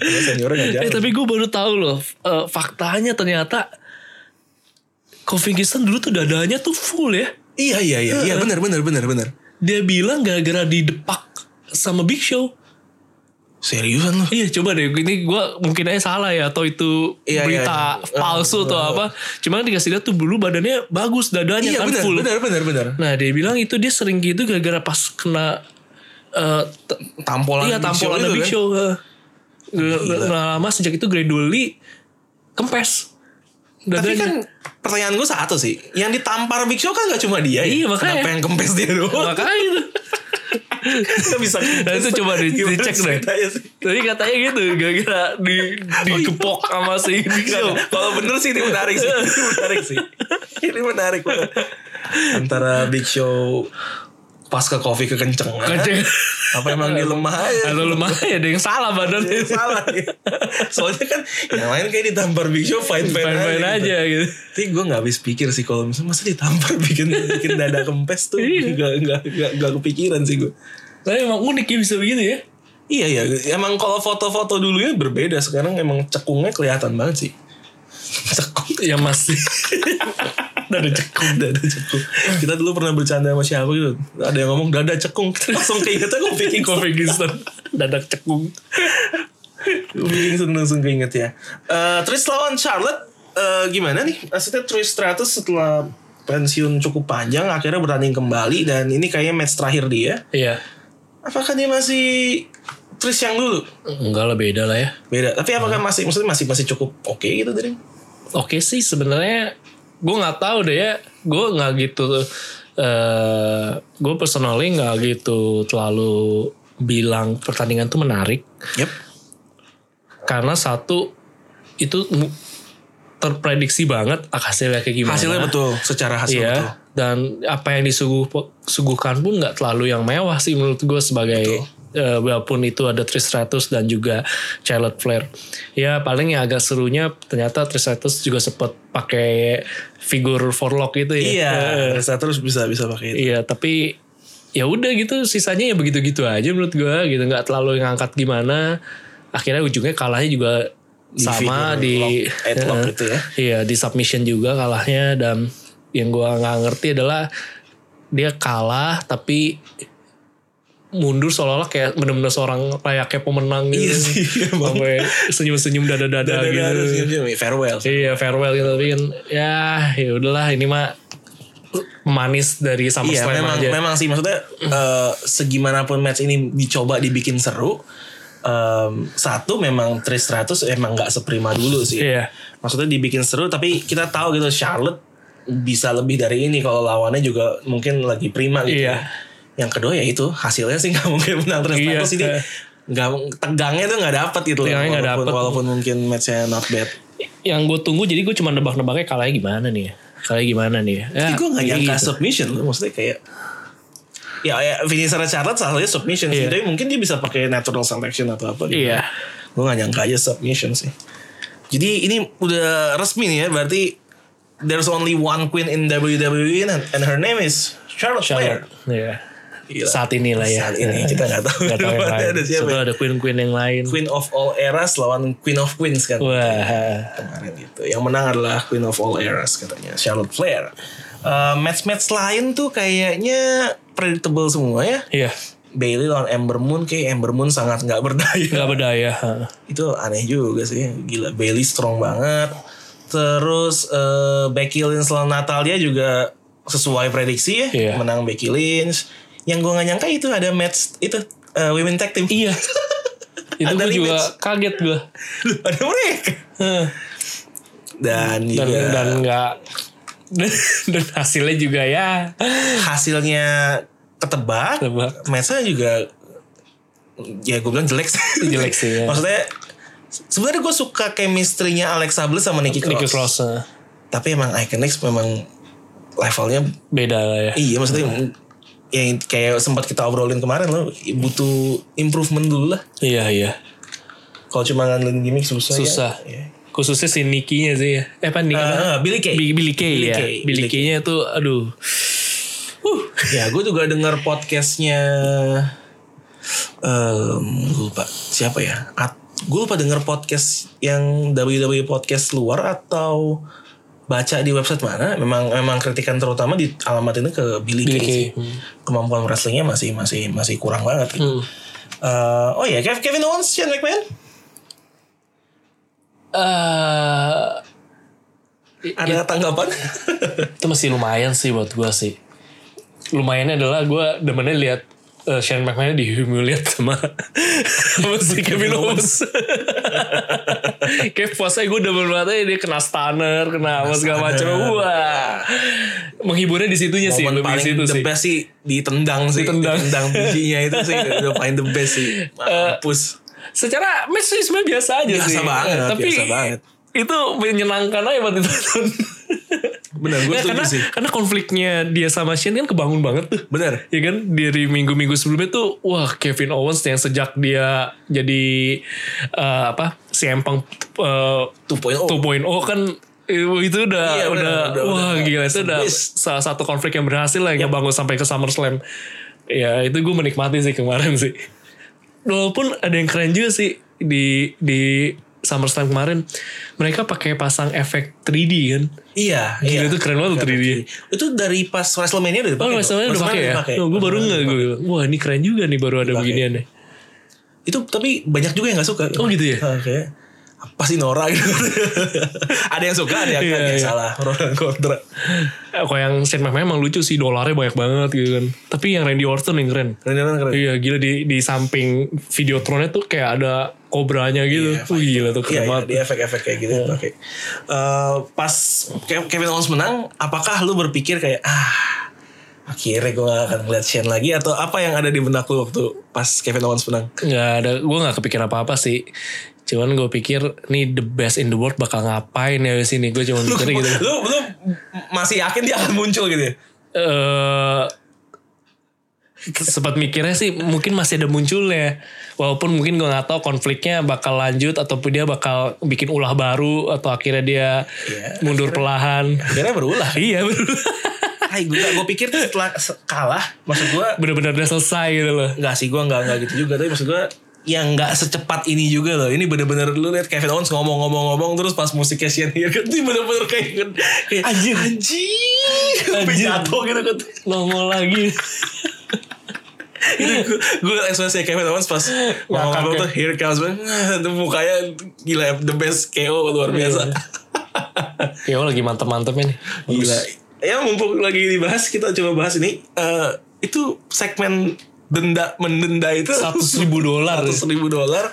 A: Seniornya nggak
B: Eh
A: jalan.
B: tapi gue baru tahu loh eh, faktanya ternyata Kofi Kingston dulu tuh dadanya tuh full ya.
A: Iya iya iya iya benar benar benar benar.
B: Dia bilang gara-gara didepak sama Big Show.
A: Seriusan lu?
B: Iya coba deh ini gue mungkin aja salah ya atau itu
A: Iya, iya,
B: berita
A: iya.
B: palsu atau apa. Cuman dikasih lihat tuh dulu badannya bagus dadanya
A: Iya
B: kan
A: benar
B: full.
A: benar benar benar.
B: Nah dia bilang itu dia sering gitu gara-gara pas kena eh, t-
A: Tampolan
B: iya
A: Big Show
B: tampolan
A: itu
B: Big
A: kan.
B: Show. heeh. Nggak- nggak lama sejak itu gradually kempes.
A: Tapi
B: dadanya.
A: kan pertanyaan gue satu sih. Yang ditampar Big Show kan gak cuma dia ya.
B: Iya, makanya.
A: Kenapa yang kempes dia doang?
B: Oh. makanya itu.
A: Gak bisa
B: Nah, itu coba di-
A: Gimana
B: dicek deh.
A: ceritanya sih?
B: Tapi katanya gitu gara-gara di
A: Oh, iya.
B: digepok sama si Big Show.
A: Nggak, Kalau bener sih ini menarik sih. Ini menarik sih. Ini menarik banget. Antara Big Show pas ke kopi kekencengan.
B: Kenceng.
A: Apa emang dia lemah aja?
B: Atau lemah ya ada yang salah
A: Dia
B: badannya.
A: salah ya. Soalnya kan yang lain kayak ditampar Big Show fine fine,
B: Main-main
A: gitu.
B: aja gitu.
A: Tapi gue gak habis pikir sih kalau misalnya masa ditampar bikin bikin dada kempes tuh
B: Iya.
A: gak, gak, gak, gak kepikiran sih gue.
B: Tapi emang unik ya bisa begitu ya.
A: Iya ya, emang kalau foto-foto dulunya berbeda. Sekarang emang cekungnya kelihatan banget sih. Cekung
B: Ya masih.
A: dada cekung dada cekung kita dulu pernah bercanda sama siapa gitu ada yang ngomong dada cekung kita langsung keingetan gue bikin gue
B: Kofi Kingston. Dadak cekung.
A: bikin langsung keinget ya Eh Tris lawan Charlotte eh, gimana nih maksudnya Tris Stratus setelah pensiun cukup panjang akhirnya bertanding kembali dan ini kayaknya match terakhir dia
B: Iya.
A: apakah dia masih Tris yang dulu
B: Enggak lah beda lah ya.
A: beda tapi apakah masih maksudnya masih masih cukup oke gitu dari
B: Oke sih sebenarnya gue nggak tahu deh ya. Gue nggak gitu. eh gue personally nggak gitu terlalu bilang pertandingan tuh menarik
A: yep
B: karena satu itu mu- terprediksi banget ah, hasilnya kayak gimana.
A: hasilnya betul secara hasil
B: Iya.
A: betul
B: Dan apa yang disuguhkan pun nggak terlalu yang mewah sih menurut gue sebagai eh, walaupun itu ada Tristratus dan juga Charlotte Flair. Ya paling yang agak serunya ternyata Tristratus juga sempet pakai figur forelock gitu ya.
A: iya
B: Eh,
A: Tris terus bisa bisa pakai itu
B: Iya, tapi ya udah gitu sisanya ya begitu-gitu aja menurut gua gitu nggak terlalu ngangkat gimana. Akhirnya ujungnya kalahnya juga sama
A: figur
B: di
A: lock, headlock gitu ya.
B: Iya, di submission juga kalahnya dan yang gua nggak ngerti adalah dia kalah tapi mundur seolah-olah kayak bener-bener seorang layaknya pemenang gitu.
A: Iya sih, iya banget.
B: Sampai senyum-senyum dada-dada
A: Dada-dada
B: gitu.
A: harus senyum-senyum, farewell
B: Iya farewell gitu tapi kan ya ya udahlah ini mah manis dari
A: Iya
B: SummerSlam
A: memang
B: aja.
A: memang sih maksudnya eh, segimanapun match ini dicoba dibikin seru em, satu memang 300 emang nggak seprima dulu sih.
B: Iya.
A: Maksudnya dibikin seru tapi kita tahu gitu Charlotte bisa lebih dari ini kalau lawannya juga mungkin lagi prima gitu.
B: Iya.
A: ya. Yang kedua ya itu hasilnya sih nggak mungkin menang 300
B: Iya,
A: ini
B: eh.
A: nggak tegangnya tuh nggak dapet gitu loh.
B: Tegangnya nggak
A: Walaupun,
B: dapet.
A: walaupun mungkin matchnya not bad.
B: Yang gue tunggu jadi gue cuma nebak-nebaknya kalahnya gimana nih ya. Kalahnya gimana nih ya. ya
A: Tapi gue gak
B: kayak
A: nyangka
B: gitu.
A: submission loh. Maksudnya kayak Ya, ya finisher Charlotte salah satunya submission sih.
B: Iya.
A: Tapi mungkin dia bisa pakai natural selection atau apa gitu.
B: Iya.
A: Gue gak nyangka aja submission sih. Jadi ini udah resmi nih ya. Berarti there's only one queen in WWE and, and her name is Charlotte, Flair.
B: Charlotte. Iya.
A: Gila.
B: Saat ini lah ya.
A: Saat ini kita nggak tahu
B: Nggak tahu yang
A: depannya
B: lain.
A: ada siapa
B: Sebelum
A: ya.
B: ada queen-queen yang lain.
A: Queen of all eras lawan Queen of Queens kan.
B: Wah.
A: kemarin gitu. Yang menang adalah Queen of All Eras katanya Charlotte Flair. Eh, match-match lain tuh kayaknya predictable semua ya.
B: Iya.
A: Bailey lawan Ember Moon kayak Ember Moon sangat nggak berdaya.
B: Gak berdaya.
A: Itu aneh juga sih. Gila Bailey strong banget. Terus eh, Becky Lynch lawan Natalia juga sesuai prediksi ya.
B: Iya.
A: Menang Becky Lynch. Yang gue nggak nyangka itu ada match itu eh, women tag team.
B: Iya. Itu
A: Ada
B: gue juga
A: rematch.
B: kaget gue.
A: Loh, ada mereka.
B: Dan
A: Dan, juga-
B: dan nggak dan hasilnya juga ya.
A: hasilnya ketebak,
B: Ketebak.
A: matchnya juga ya gue bilang jelek sih.
B: Jelek sih, ya.
A: Maksudnya sebenarnya gue suka chemistry-nya Alexa Bliss sama Nikki Cross.
B: Nikki Cross eh,
A: Tapi emang Iconics memang levelnya
B: beda lah ya.
A: iya maksudnya
B: Iya.
A: yang kayak sempat kita obrolin kemarin loh butuh improvement dulu lah.
B: Iya iya.
A: Kalau cuma ngandelin gimmick susah. ya.
B: Susah.
A: Ya.
B: khususnya si Nikinya sih ya. Eh apa Nicky?
A: Eh, Billy Kay.
B: Billy, Billy Kay
A: Billy
B: ya.
A: Kay,
B: Billy
A: Billy
B: Kay-nya tuh aduh. Uh,
A: Ya, gue juga denger podcastnya. em gue lupa siapa ya. At, gue lupa denger podcast yang WWE podcast luar atau baca di website mana. Memang memang kritikan terutama di alamat ini ke Billy,
B: Billy
A: Kay.
B: Kay,
A: sih. Kemampuan wrestlingnya masih masih masih kurang banget. Gitu.
B: hmm.
A: Eh, oh ya, Kev- Kevin Owens, Shane McMahon,
B: Eh, ya, Iya.
A: ada tanggapan?
B: itu masih lumayan sih buat gue sih. Lumayannya adalah gue demennya lihat eh, Shane McMahon dihumiliat sama, sama si Kevin Owens. Kayak puasanya gue demen banget aja dia kena stunner, kena apa segala macam.
A: stunner.
B: Wah, menghiburnya di situnya sih,
A: Momen
B: lebih di
A: paling
B: situ
A: the
B: sih.
A: best sih ditendang sih,
B: Ditendang. Eh,
A: bijinya itu sih udah paling the best sih. Mampus.
B: Secara match sih sebenarnya biasa aja
A: Biasa
B: sih.
A: banget,
B: Eh, tapi
A: biasa banget.
B: itu menyenangkan aja buat ditonton.
A: Bener, gue
B: Ya,
A: setuju
B: karena,
A: sih.
B: karena konfliknya dia sama Shane kan kebangun banget tuh.
A: Bener.
B: Ya kan dari minggu-minggu sebelumnya tuh wah Kevin Owens yang sejak dia jadi eh, apa si empang eh,
A: 2.0.
B: 2.0 kan eh, itu udah
A: Oh. Iya, bener,
B: udah,
A: udah,
B: wah
A: udah.
B: gila itu udah
A: Beast.
B: salah satu konflik yang berhasil lah yang ngebangun sampai ke SummerSlam. Ya itu gue menikmati sih kemarin sih. Walaupun ada yang keren juga sih di di SummerSlam kemarin mereka pakai pasang efek 3D kan.
A: Iya,
B: Gila
A: iya.
B: itu keren banget tuh 3D.
A: Itu dari pas WrestleMania udah Hmm. dipakai.
B: Oh,
A: tuh.
B: WrestleMania udah pakai ya?
A: dipakai.
B: Oh, gue baru nggak gue bilang, wah ini keren juga nih baru ada
A: Dipakai.
B: beginian nih.
A: Itu tapi banyak juga yang gak suka.
B: Oh, gitu ya?
A: Oke. Apa sih Nora gitu. ada yang suka, ada yang,
B: Iya,
A: ada yang
B: iya.
A: salah. Pro dan kontra.
B: Eh, Kalau yang Shane McMahon emang lucu sih, dolarnya banyak banget gitu kan. Tapi yang Randy Orton yang keren.
A: Keren keren keren.
B: Iya gila di di samping videotronnya tuh kayak ada kobranya gitu.
A: Iya,
B: Wih gila tuh
A: Iya,
B: keren
A: iya,
B: banget. Iya.
A: di efek-efek kayak gitu. Oke. Eh, pas Ke- Kevin Owens menang, apakah lu berpikir kayak ah akhirnya gue gak akan ngeliat Shane lagi atau apa yang ada di benak lu waktu pas Kevin Owens menang?
B: Nggak ada, gue nggak kepikiran apa-apa sih. Cuman gue pikir nih the best in the world bakal ngapain ya di sini. Gue cuma
A: Lu,
B: mikirnya gitu.
A: lu, lu masih yakin dia akan muncul gitu ya?
B: eh sempat mikirnya sih mungkin masih ada munculnya walaupun mungkin gue nggak tahu konfliknya bakal lanjut ataupun dia bakal bikin ulah baru atau akhirnya dia
A: Iya,
B: mundur perlahan
A: Akhirnya berulah.
B: iya bener
A: Hai gue gue pikir tuh setelah se- kalah maksud gue
B: bener-bener udah selesai gitu loh
A: nggak sih gue nggak nggak gitu juga tapi maksud gue yang nggak secepat ini juga loh ini bener-bener lu lihat Kevin Owens ngomong-ngomong-ngomong terus pas musiknya Shane Hill kan dia bener-bener kayak kayak
B: Anjir.
A: anjir sampai
B: Anjir.
A: jatuh gitu kan
B: nongol lagi
A: itu gue ekspresi Kevin Owens pas ngomong-ngomong
B: Ngakak ya.
A: tuh here comes man itu mukanya gila the best KO
B: Iya,
A: luar biasa
B: ya lagi mantep-mantepnya nih Bagus.
A: Gila. Ya mumpung lagi dibahas kita coba bahas ini Eh, itu segmen denda mendenda itu
B: 100 ribu dolar
A: 100 ribu dolar.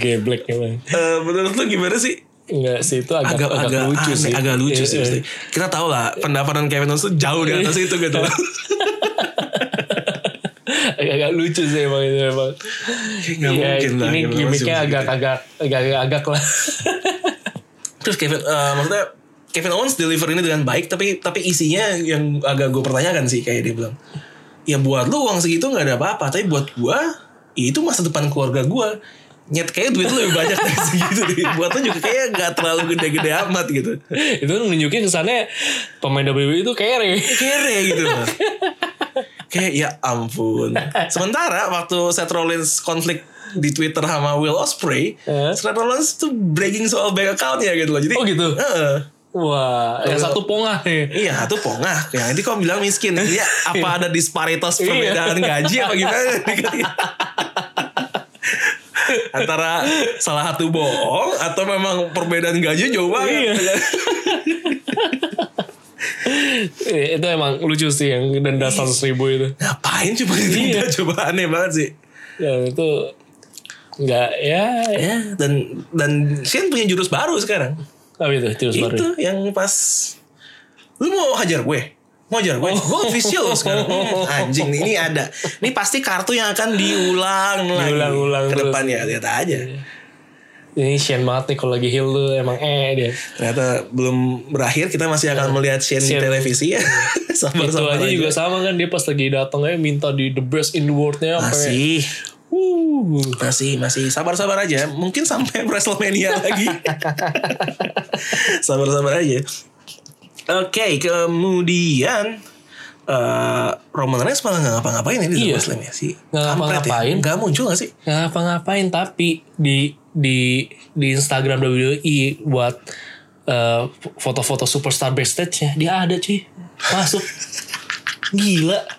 B: geblek emang
A: Eh, menurut lu gimana sih?
B: Enggak sih itu agak,
A: Agak
B: agak,
A: agak,
B: lucu
A: aneh,
B: sih
A: agak lucu sih.
B: Iya,
A: pasti.
B: iya.
A: Kita tahu lah pendapatan Kevin Owens tuh jauh di atas itu gitu.
B: Iya, agak-agak lucu sih emang itu emang.
A: nggak
B: Iya,
A: mungkin gitu. lah,
B: Ini
A: nggak
B: gimmicknya
A: mungkin.
B: agak-agak agak-agak lah.
A: Terus Kevin eh, maksudnya Kevin Owens deliver ini dengan baik tapi tapi isinya yang agak gue pertanyakan sih kayak dia bilang. Ya buat lu uang segitu nggak ada apa-apa tapi buat gua ya itu masa depan keluarga gua. Nyet kayak duit lu lebih banyak dari segitu. buat lu juga kayak nggak terlalu gede-gede amat gitu.
B: itu nunjukin kesannya pemain WWE itu kere.
A: kere gitu loh. Kayak ya ampun. Sementara waktu Seth Rollins konflik di Twitter sama Will Osprey,
B: Eh?
A: Seth Rollins tuh breaking soal bank accountnya gitu loh. Jadi
B: Oh gitu?
A: Heeh.
B: Wah, yang satu pongah nih.
A: Iya tuh pongah Yang ini kok bilang miskin Iya apa ada
B: Iya.
A: disparitas perbedaan gaji apa gimana Antara salah satu bohong Atau memang perbedaan gaji jauh
B: Iya.
A: banget
B: Eh, itu emang lucu sih yang denda 100 ribu itu.
A: Ngapain coba
B: Iya.
A: ini Coba aneh banget sih
B: Ya itu nggak ya
A: Ya, dan dan Shane punya jurus baru sekarang.
B: apa itu jurus baru.
A: Itu yang pas lu mau hajar gue. Mau hajar
B: Oh.
A: gue. Gue official loh sekarang. Hmm, Anjing nih, ini ada. Ini pasti kartu yang akan diulang lagi.
B: Diulang-ulang
A: ke
B: terus.
A: depannya lihat aja.
B: Ini Shane banget nih kalau lagi heal tuh emang eh dia.
A: Ternyata belum berakhir kita masih akan melihat Shane di
B: Shane.
A: televisi
B: Iya.
A: ya.
B: Itu
A: Sabar-sabar
B: aja
A: aja.
B: juga sama kan dia pas lagi datang aja minta di the best in the world-nya apa
A: Masih
B: Wuh.
A: Masih masih sabar-sabar aja. Mungkin sampai WrestleMania lagi. sabar-sabar aja. Oke, kemudian eh, Roman Reigns malah nggak ngapa-ngapain ini di
B: Iya.
A: WrestleMania sih.
B: Nggak
A: Kampret
B: ngapa-ngapain.
A: Ya? Gak muncul gak sih?
B: Nggak ngapa-ngapain tapi di di di Instagram WWE buat eh, foto-foto superstar backstage-nya dia ada cuy. Masuk. Gila.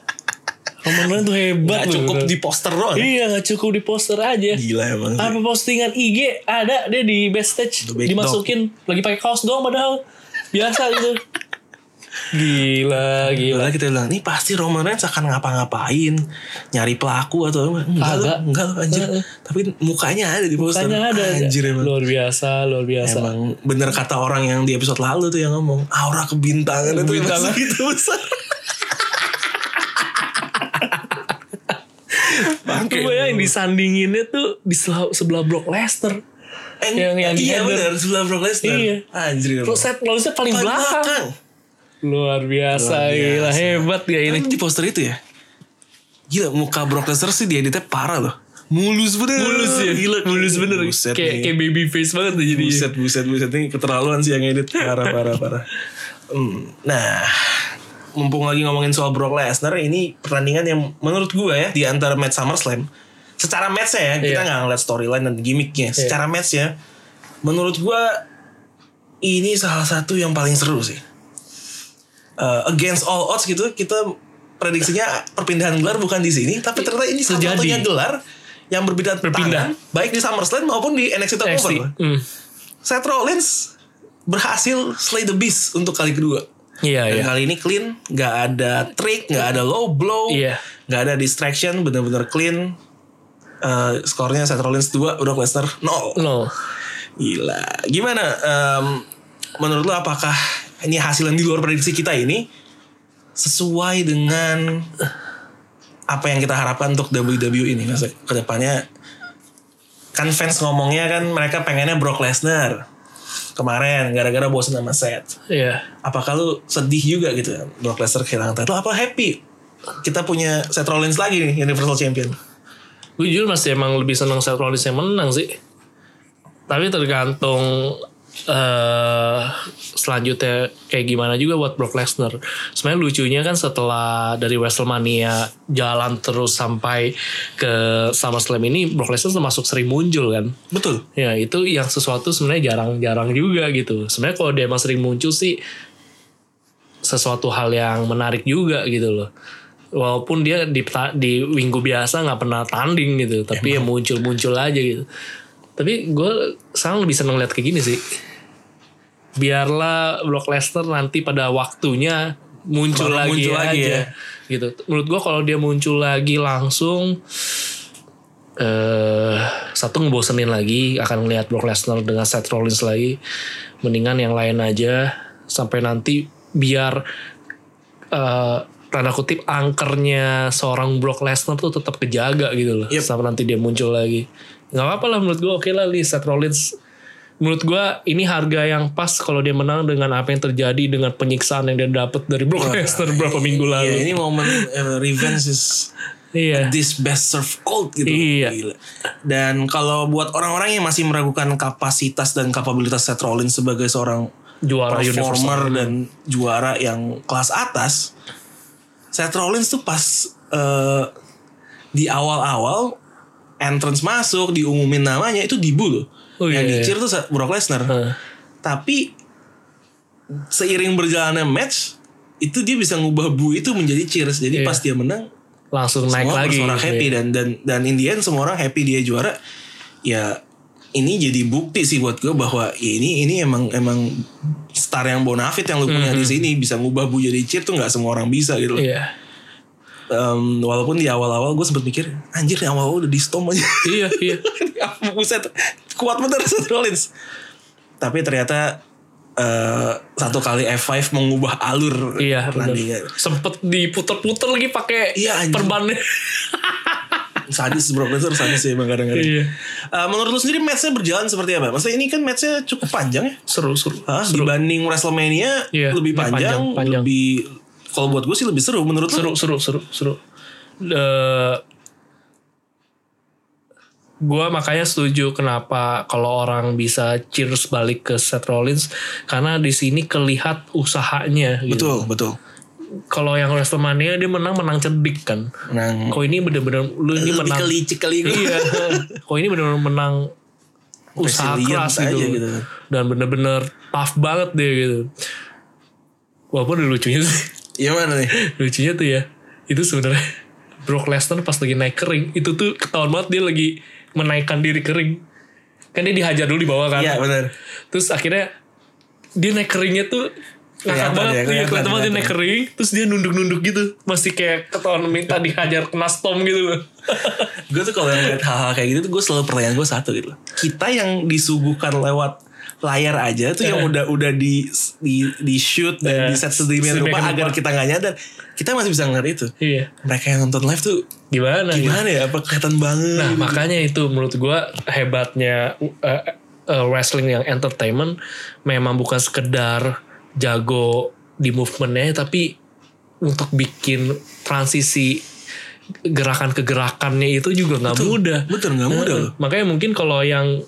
B: Roman Reigns tuh hebat.
A: Gak cukup
B: bener-bener.
A: di Iya. poster doang.
B: Iya nggak cukup di poster aja.
A: Gila emang. sih.
B: Apa postingan IG ada dia di backstage
A: The big
B: dimasukin lagi pakai kaos doang padahal biasa gitu. Gila, gila.
A: Padahal Iya, kita bilang, ini pasti Roman Reigns akan ngapa-ngapain, nyari pelaku atau apa. Enggak,
B: Agak.
A: loh, enggak loh, anjir.
B: Heeh.
A: Tapi mukanya ada di poster.
B: Makanya ada.
A: Anjir emang.
B: Luar biasa, luar biasa.
A: Emang bener kata orang yang di episode lalu tuh yang ngomong aura kebintangan itu
B: Kebintangan.
A: emang segitu besar. Bangke.
B: Coba ya, yang disandinginnya tuh di sebelah, sebelah blok Lester.
A: Eh,
B: yang- yang di
A: iya
B: header.
A: bener sebelah Brock Lesnar.
B: Iya.
A: Anjir.
B: Terus
A: emang.
B: set lolisnya paling
A: Paling
B: belakang.
A: belakang.
B: Luar biasa,
A: Luar biasa.
B: gila hebat ya ini.
A: Kan di poster itu ya. Gila muka Brock Lesnar sih dia editnya parah loh. Mulus bener.
B: Mulus ya,
A: Gila
B: mulus bener.
A: Buset
B: Kayak
A: nih.
B: kayak baby face banget tuh jadi.
A: Buset, buset, buset. Ini keterlaluan sih yang edit. Parah, parah, parah. Hmm, Nah, mumpung lagi ngomongin soal Brock Lesnar, ini pertandingan yang menurut gue ya, di antara match SummerSlam, secara matchnya ya, kita
B: Iya.
A: nggak ngeliat storyline dan gimmicknya. Secara match ya, menurut gue ini salah satu yang paling seru sih. Eh, against all odds gitu, kita prediksinya perpindahan gelar bukan di sini, tapi ternyata ini
B: Terjadi.
A: satu-satunya gelar yang berbeda
B: Berpindah.
A: tangan, baik di SummerSlam maupun di
B: NXT.
A: NXT TakeOver.
B: Hmm.
A: Seth Rollins berhasil slay the beast untuk kali kedua.
B: Iya, iya.
A: Dan kali ini clean, nggak ada trick, nggak ada low blow,
B: Iya.
A: nggak ada distraction, bener-bener clean. Eh, skornya Seth Rollins 2, Brock Lesnar 0.
B: No.
A: Gila. Gimana em, menurut lo apakah ini hasil yang di luar prediksi kita ini sesuai dengan apa yang kita harapkan untuk WWE ini Maksudnya, kedepannya kan fans ngomongnya kan mereka pengennya Brock Lesnar kemarin gara-gara bosan sama Seth
B: Iya.
A: apakah lu sedih juga gitu ya Brock Lesnar kehilangan title apa happy kita punya Seth Rollins lagi nih Universal Champion
B: Gue jujur masih emang lebih seneng Seth Rollins yang menang sih. Tapi tergantung eh selanjutnya kayak gimana juga buat Brock Lesnar. Sebenarnya lucunya kan setelah dari WrestleMania jalan terus sampai ke SummerSlam ini Brock Lesnar termasuk sering muncul kan.
A: betul
B: Ya itu yang sesuatu sebenarnya jarang-jarang juga gitu. Sebenarnya kalau dia emang sering muncul sih sesuatu hal yang menarik juga gitu loh. Walaupun dia di peta- di minggu biasa nggak pernah tanding gitu, tapi ya muncul-muncul aja gitu. Tapi gue sekarang lebih seneng lihat kayak gini sih. Biarlah Brock Lesnar nanti pada waktunya muncul
A: Baru
B: lagi
A: muncul
B: aja.
A: lagi ya.
B: Gitu. Menurut gue kalau dia muncul lagi langsung eh satu ngebosenin lagi akan ngelihat Brock Lesnar dengan Seth Rollins lagi mendingan yang lain aja sampai nanti biar eh tanda kutip angkernya seorang Brock Lesnar tuh tetap kejaga gitu loh
A: Yep.
B: sampai nanti dia muncul lagi nggak apa-apa lah menurut gue oke lah nih Seth Rollins menurut gue ini harga yang pas kalau dia menang dengan apa yang terjadi dengan penyiksaan yang dia dapat dari Brock Lesnar beberapa minggu lalu
A: ya Iya. ini momen eh, revenge is
B: iya
A: this best serve cold gitu.
B: Iya.
A: Gila. Dan kalau buat orang-orang yang masih meragukan kapasitas dan kapabilitas Seth Rollins sebagai seorang
B: juara universal
A: performer dan juara yang kelas atas, Seth Rollins tuh pas eh, di awal-awal entrance masuk diumumin namanya itu dibu loh.
B: Oh,
A: yang
B: iya, iya.
A: dicir tuh Brock Lesnar.
B: Heeh.
A: Tapi seiring berjalannya match itu dia bisa ngubah bu itu menjadi cheers. Jadi
B: Iya.
A: pas dia menang
B: langsung naik
A: semua
B: lagi
A: orang happy dan dan dan in the end semua orang happy dia juara ya ini jadi bukti sih buat gue bahwa ya ini ini emang emang star yang bonafit yang lu punya di sini bisa ngubah bu jadi cheer tuh nggak semua orang bisa gitu loh.
B: Mm-hmm. iya
A: Em, walaupun di awal-awal gue sempet mikir anjir yang awal udah di stomp aja
B: iya iya
A: Buset, kuat bener Seth Rollins. Tapi ternyata eh, satu kali F5 mengubah alur
B: Iya,
A: pertandingan.
B: bener. sempet diputer-puter lagi pakai
A: ya. Iya, anjing.
B: perbannya.
A: Sadis Brock Lesnar sadis sih emang kadang-kadang.
B: Iya.
A: Eh, menurut lu sendiri matchnya berjalan seperti apa? Maksudnya ini kan matchnya cukup panjang ya?
B: Seru, seru.
A: Hah?
B: Seru,
A: Dibanding WrestleMania
B: Iya,
A: lebih panjang,
B: panjang, panjang.
A: lebih kalau buat gue sih lebih seru menurut lu.
B: seru, seru, seru, seru. Eh, gue makanya setuju kenapa kalau orang bisa cheers balik ke Seth Rollins karena di sini kelihat usahanya. Gitu.
A: Betul, betul.
B: Kalau yang Wrestlemania dia menang menang cerdik kan.
A: Menang.
B: Kok ini bener-bener lu ini
C: Lebih
B: menang.
C: kelicik kali gue.
B: iya. Kok ini bener-bener menang usaha
A: Resilient
B: keras gitu.
A: aja gitu.
B: Dan bener-bener tough banget dia gitu. Walaupun ada lucunya sih
A: Iya mana nih?
B: lucunya tuh ya itu sebenarnya Brock Lesnar pas lagi naik kering itu tuh ketahuan banget dia lagi menaikkan diri kering kan dia dihajar dulu di bawah kan
A: Iya benar.
B: terus akhirnya dia naik keringnya tuh ngakak
A: Kelihatan
B: banget
A: ya,
B: iya,
A: kelihatan,
B: kelihatan banget dia
A: kelihatan.
B: naik kering terus dia nunduk-nunduk gitu masih kayak ketahuan minta dihajar kena stom gitu loh
A: Gue tuh kalau ngeliat hal-hal kayak gitu tuh gue selalu pertanyaan gue satu gitu. loh. Kita yang disuguhkan lewat layar aja tuh
B: Iya.
A: yang udah udah di di di shoot
B: Eh,
A: dan di set sedemikian rupa
B: sedemikian
A: agar
B: rupa.
A: kita nggak nyadar kita masih bisa ngeliat itu
B: iya
A: mereka yang nonton live tuh
B: gimana, gitu.
A: gimana ya apa kelihatan banget
B: Nah makanya itu menurut gua hebatnya uh, uh, wrestling yang entertainment memang bukan sekedar jago di movementnya tapi untuk bikin transisi gerakan ke gerakannya itu juga nggak mudah.
A: betul nggak mudah
B: Heeh.
A: loh
B: Makanya mungkin kalau yang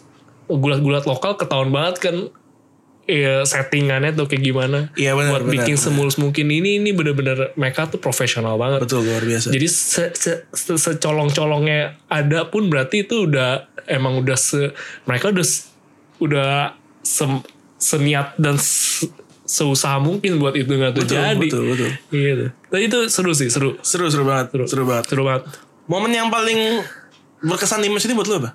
B: gulat-gulat lokal ketahuan banget kan ya settingannya tuh kayak gimana.
A: Iya, benar,
B: Buat
A: benar,
B: bikin
A: benar.
B: semulus mungkin ini ini bener-bener mereka tuh profesional banget.
A: betul luar biasa
B: Jadi se, se- se- secolong-colongnya ada pun berarti itu udah emang udah se mereka udah se- udah se- seniat dan se- seusaha mungkin buat itu nggak
A: betul,
B: terjadi.
A: betul betul
B: Gitu. Tapi itu seru sih, seru.
A: seru seru banget seru, banget
B: Seru banget.
A: momen yang paling berkesan di match ini buat lo apa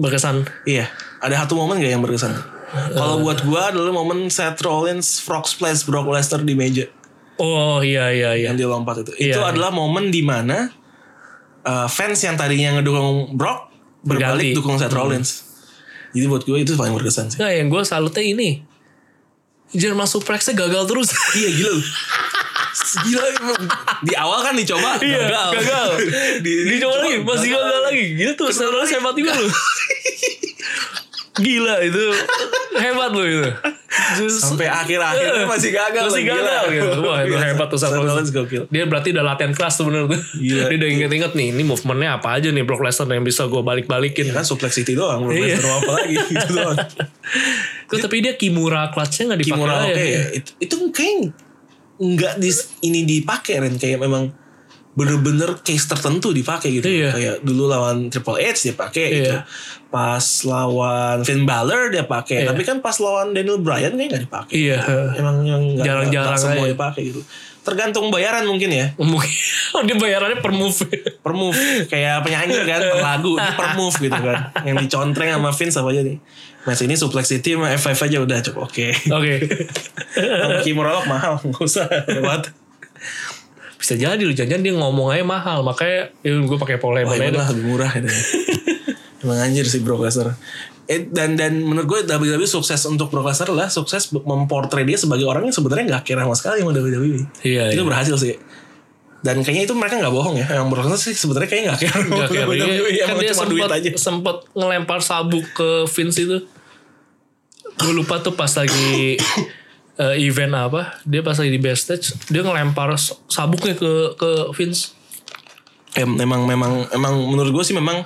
B: Berkesan.
A: Iya, ada satu momen gak yang berkesan?
B: Eh.
A: Kalau buat gua adalah momen Seth Rollins frog splash Brock Lesnar di meja
B: Oh iya iya iya.
A: yang dia lompat itu. Itu
B: Iya.
A: adalah momen di mana uh, fans yang tadinya ngedukung Brock berbalik
B: Berganti. Hmm.
A: dukung Seth Rollins. Jadi buat gua itu paling berkesan sih.
B: Nah, yang gue salutnya ini. Jerman Suprexnya gagal terus.
A: iya gila lu. Gila emang. Di awal kan dicoba
B: Iya,
A: gagal.
B: gagal.
A: Di-
B: Dicoba lagi,
A: dicoba
B: masih gagal, lagi. Gitu tuh, sebenarnya hebat juga lu. Gila itu hebat lu itu. Just- Eh,
A: Sampai akhir-akhir masih gagal.
B: Masih
A: lagi, gila.
B: gagal gitu. Wah, itu
A: Biasa.
B: hebat tuh Seth
A: Seth Rollins
B: Rollins.
A: gokil.
B: Dia berarti udah latihan keras tuh bener tuh.
A: Gila.
B: Dia udah inget-inget nih, ini movementnya apa aja nih Brock Lesnar yang bisa gue balik-balikin.
A: Kan suplex itu doang, Brock
B: Iya.
A: Lesnar mau apa lagi gitu doang.
B: Tuh, tapi dia Kimura clutchnya gak dipakai.
A: Kimura oke
B: aja.
A: ya. Itu, itu kayak nggak di ini dipakai Ren kayak memang bener-bener case tertentu dipakai gitu.
B: Iya.
A: Kayak dulu lawan Triple H dia pakai
B: Iya.
A: gitu. Pas lawan Finn Balor dia pakai.
B: Iya.
A: Tapi kan pas lawan Daniel Bryan kayak nggak dipakai.
B: Iya.
A: Emang yang nggak-
B: Jarang-jarang
A: nggak semua
B: aja.
A: dipakai gitu. Tergantung bayaran mungkin ya
B: Mungkin oh, dia bayarannya per move.
A: per move kayak penyanyi kan per lagu ini per move gitu kan yang dicontreng sama Vince apa aja nih Mas ini suplex city sama F5 aja udah cukup oke
B: Oke.
A: Sama Kimura Rock mahal nggak usah hebat
B: Bisa jadi lu jangan dia ngomong aja mahal makanya gue pakai pole
A: Wah, emang
B: boleh
A: lah lebih murah itu. emang anjir sih Brock Lesnar. Eh, dan dan menurut gue WWE sukses untuk Brock Lesnar lah sukses memportray dia sebagai orang yang sebenarnya nggak care sama sekali sama WWE.
B: Iya,
A: itu
B: iya.
A: berhasil sih. Dan kayaknya itu mereka nggak bohong ya. Yang Brock Lesnar sih sebenarnya kayaknya nggak care sama
B: Nggak kayak
A: WWE.
B: dia, kan
A: Emang
B: dia
A: iya, cuma duit
B: sempet,
A: aja.
B: sempet ngelempar sabuk ke Vince itu. Gue lupa tuh pas lagi eh, event apa, dia pas lagi di backstage, dia ngelempar s- sabuknya ke ke Vince.
A: Em- Emang Eh, memang emang menurut gue sih memang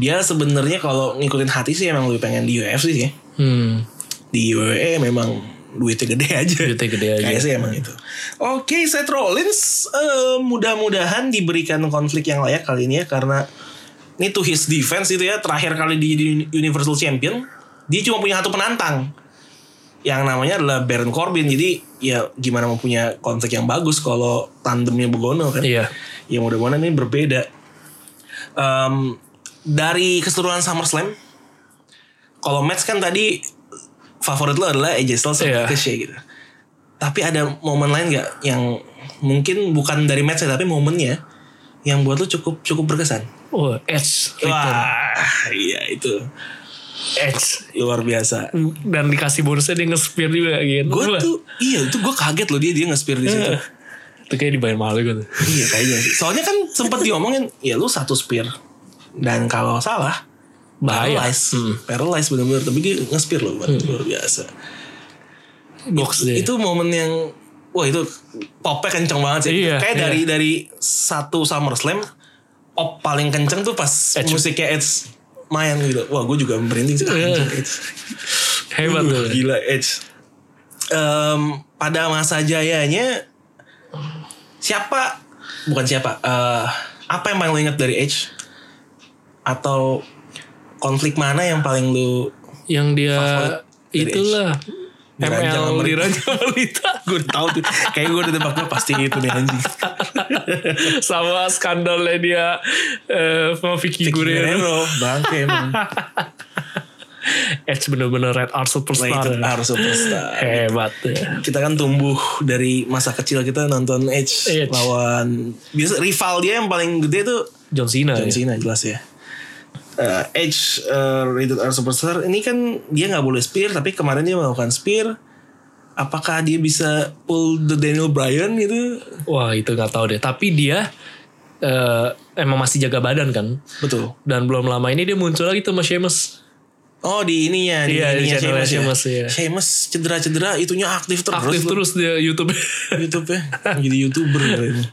A: dia sebenarnya kalau ngikutin hati sih emang lebih pengen di UFC sih. Ya.
B: Hmm,
A: di WWE memang duitnya gede aja.
B: Duitnya gede aja.
A: Kayaknya sih emang itu. Oke, Seth Rollins eh, mudah-mudahan diberikan konflik yang layak kali ini ya karena ini to his defense itu ya terakhir kali di, di Universal Champion dia cuma punya satu penantang yang namanya adalah Baron Corbin jadi ya gimana mau punya konflik yang bagus kalau tandemnya begono kan
B: Iya.
A: ya mudah-mudahan ini berbeda Em, dari keseluruhan SummerSlam kalau match kan tadi favorit lo adalah AJ Styles sama
B: Iya.
A: Ricochet gitu. Tapi ada momen lain gak yang mungkin bukan dari match ya, tapi momennya yang buat lo cukup cukup berkesan.
B: oh Edge, return.
A: Wah, iya itu
B: Edge.
A: luar biasa.
B: Dan dikasih bonusnya dia nge-spear juga gitu.
A: Gue
B: Wah,
A: tuh iya itu gue kaget loh dia dia nge-spear di situ.
B: Itu kayak dibayar mahal gitu.
A: iya kayaknya. sih. Soalnya kan sempat diomongin ya lu satu spear dan kalau salah
B: Bahaya.
A: paralyze,
B: Hmm.
A: paralyze benar-benar tapi dia nge-spear loh buat luar biasa.
B: Box dia.
A: itu momen yang wah itu popnya kenceng banget sih.
B: Iya,
A: Kayak
B: iya.
A: dari dari satu SummerSlam pop paling kenceng tuh pas
B: Edge.
A: musiknya Edge main gitu. Wah gue juga merinding sih.
B: Iya.
A: Anjing, Edge.
B: Hebat
A: Uh,
B: tuh.
A: Gila Edge. Em, pada masa jayanya siapa bukan siapa eh, apa yang paling lu ingat dari Edge atau konflik mana yang paling lu
B: Yang dia
A: Favorit dari
B: itulah ML
A: Diranjang sama
B: di
A: Rita.
B: Raja Melita
A: gue tahu tuh kayak gue udah tebak gue pasti itu nih anjing
B: sama skandalnya dia eh sama Vicky Guerrero.
A: Guerrero bangke emang
B: Edge bener-bener red art
A: Nah, itu
B: superstar. ya.
A: harus superstar
B: Hebat ya.
A: kita kan tumbuh dari masa kecil kita nonton Edge,
B: Edge.
A: lawan biasa rival dia yang paling gede tuh
B: John Cena.
A: John
B: ya.
A: Cena jelas ya. Eh, Edge eh, rated R superstar ini kan dia nggak boleh spear tapi kemarin dia melakukan spear. Apakah dia bisa pull the Daniel Bryan gitu?
B: Wah itu nggak tahu deh. Tapi dia eh, emang masih jaga badan kan.
A: Betul.
B: Dan belum lama ini dia muncul lagi tuh sama Sheamus.
A: Oh di ininya di
B: Iya, di
A: ininya
B: channelnya
A: Sheamus
B: Sheamus,
A: ya.
B: iya.
A: Sheamus cedera-cedera itunya aktif terus.
B: Aktif
A: loh.
B: terus dia YouTube.
A: YouTube ya. Jadi YouTuber kali ini.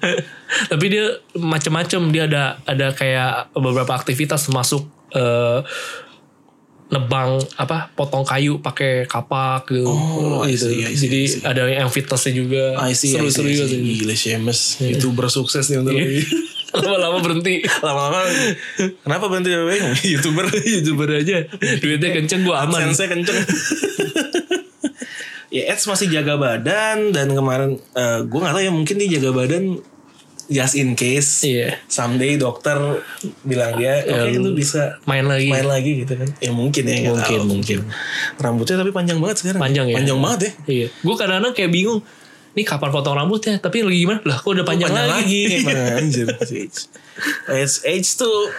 B: Tapi dia macem-macem dia ada ada kayak beberapa aktivitas masuk eh, nebang apa potong kayu pakai kapak gitu.
A: Oh, I see, I see,
B: Jadi
A: I see.
B: ada yang fitnessnya juga.
A: I see, I see,
B: Seru-seru
A: I
B: juga
A: see.
B: sih.
A: Gila Sheamus YouTuber sukses nih untuk
B: Iya.
A: lagi.
B: Lama-lama berhenti.
A: Lama-lama kenapa berhenti YouTuber
B: YouTuber aja. Duitnya kenceng gua aman.
A: Sense kenceng. ya Eds masih jaga badan dan kemarin eh, gue nggak tahu ya mungkin dia jaga badan just in case
B: Iya.
A: someday dokter bilang dia oke
B: Em,
A: lu bisa
B: Main lagi.
A: main lagi gitu kan ya mungkin ya nggak
B: Mungkin,
A: tahu.
B: mungkin.
A: rambutnya tapi panjang banget sekarang
B: Panjang ya?
A: panjang banget ya
B: Iya. Gue kadang-kadang kayak bingung. Nih kapan potong rambutnya? Tapi lagi gimana? Lah kok udah panjang, lagi?
A: Emang, anjir si Edge. Edge, Edge tuh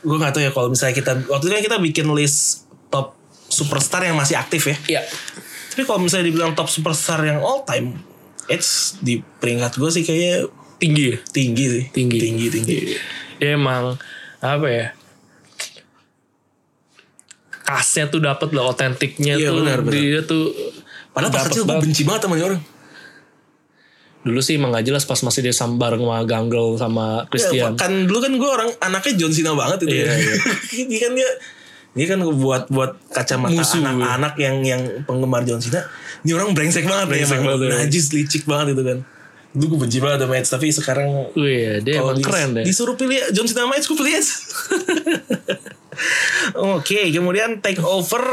A: gue nggak tahu ya kalau misalnya kita waktu itu kan kita bikin list top superstar yang masih aktif ya
B: Iya.
A: Tapi kalau misalnya dibilang top superstar yang all time, Edge di peringkat gue sih kayaknya
B: Tinggi ya?
A: tinggi sih.
B: Tinggi. Iya.
A: Tinggi, tinggi.
B: Dia emang apa ya? Kasnya tuh dapet lah otentiknya
A: Iya,
B: tuh
A: benar, benar.
B: dia tuh
A: Padahal
B: dapet
A: pas kecil gue
B: banget.
A: benci banget sama dia orang.
B: dulu sih emang gak jelas pas masih dia sam- bareng sama Ganggel sama
A: Ya,
B: Christian.
A: kan dulu kan gue orang anaknya John Cena banget itu.
B: Iya,
A: ya.
B: iya.
A: dia kan dia dia kan buat buat kacamata
B: Musuh. iya.
A: anak-anak yang yang penggemar John Cena. Ini orang brengsek banget,
B: Brengsek
A: emang.
B: banget, ya.
A: Najis licik banget itu kan. Dulu gue benci banget sama Edge tapi sekarang
B: Wih, dia
A: Kalau
B: Iya, emang
A: dis-
B: keren deh.
A: Disuruh pilih John Cena sama Edge, gue pilih Edge. Oke, kemudian take over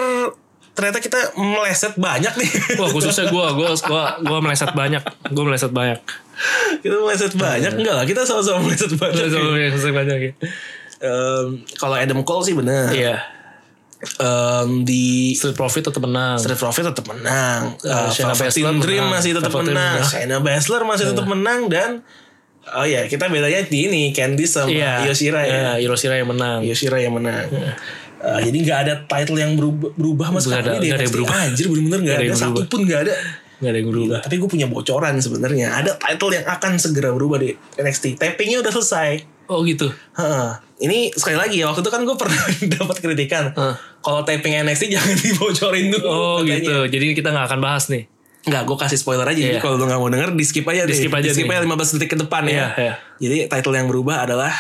A: ternyata kita meleset banyak nih.
B: Wah khususnya gue, gue, gue, gue meleset banyak, gue meleset banyak,
A: kita meleset
B: Iya.
A: banyak enggak lah, kita sama-sama meleset
B: gue
A: banyak.
B: meleset banyak. ya.
A: Em, kalau Adam Cole sih benar.
B: Iya,
A: Em, di
B: Street Profit tetap menang.
A: Street Profit tetap menang.
B: Eh,
A: Eh,
B: Shayna
A: Velveteen
B: Baszler
A: Dream
B: menang.
A: masih tetap
B: Velveteen Iya.
A: menang.
B: menang.
A: Shayna Baszler masih tetap menang dan oh ya kita bedanya di ini Candice sama
B: Iya,
A: Yoshira ya.
B: Iya, Yoshira yang menang.
A: Yoshira yang menang. Eh, jadi nggak ada title yang berubah, berubah mas
B: Iya. Nggak ada- nggak
A: kali
B: ada yang
A: NXT.
B: berubah.
A: Anjir bener-bener nggak
B: Nggak ada
A: ada,
B: yang
A: satu
B: berubah.
A: pun nggak ada.
B: Gak ada yang berubah.
A: Tapi gue punya bocoran sebenarnya. Ada title yang akan segera berubah di NXT. Tapingnya udah selesai.
B: Oh gitu.
A: Heeh. Ini sekali lagi ya waktu itu kan gue pernah dapat kritikan
B: Heeh.
A: kalau taping NXT jangan dibocorin dulu.
B: Oh
A: katanya.
B: gitu. Jadi kita nggak akan bahas nih.
A: Nggak, gue kasih spoiler aja. Jadi
B: Iya.
A: kalau lu nggak mau denger, di skip aja.
B: Di
A: deh.
B: skip aja
A: Di skip
B: nih.
A: aja 15 detik ke depan
B: Iya,
A: ya.
B: iya.
A: Jadi title yang berubah adalah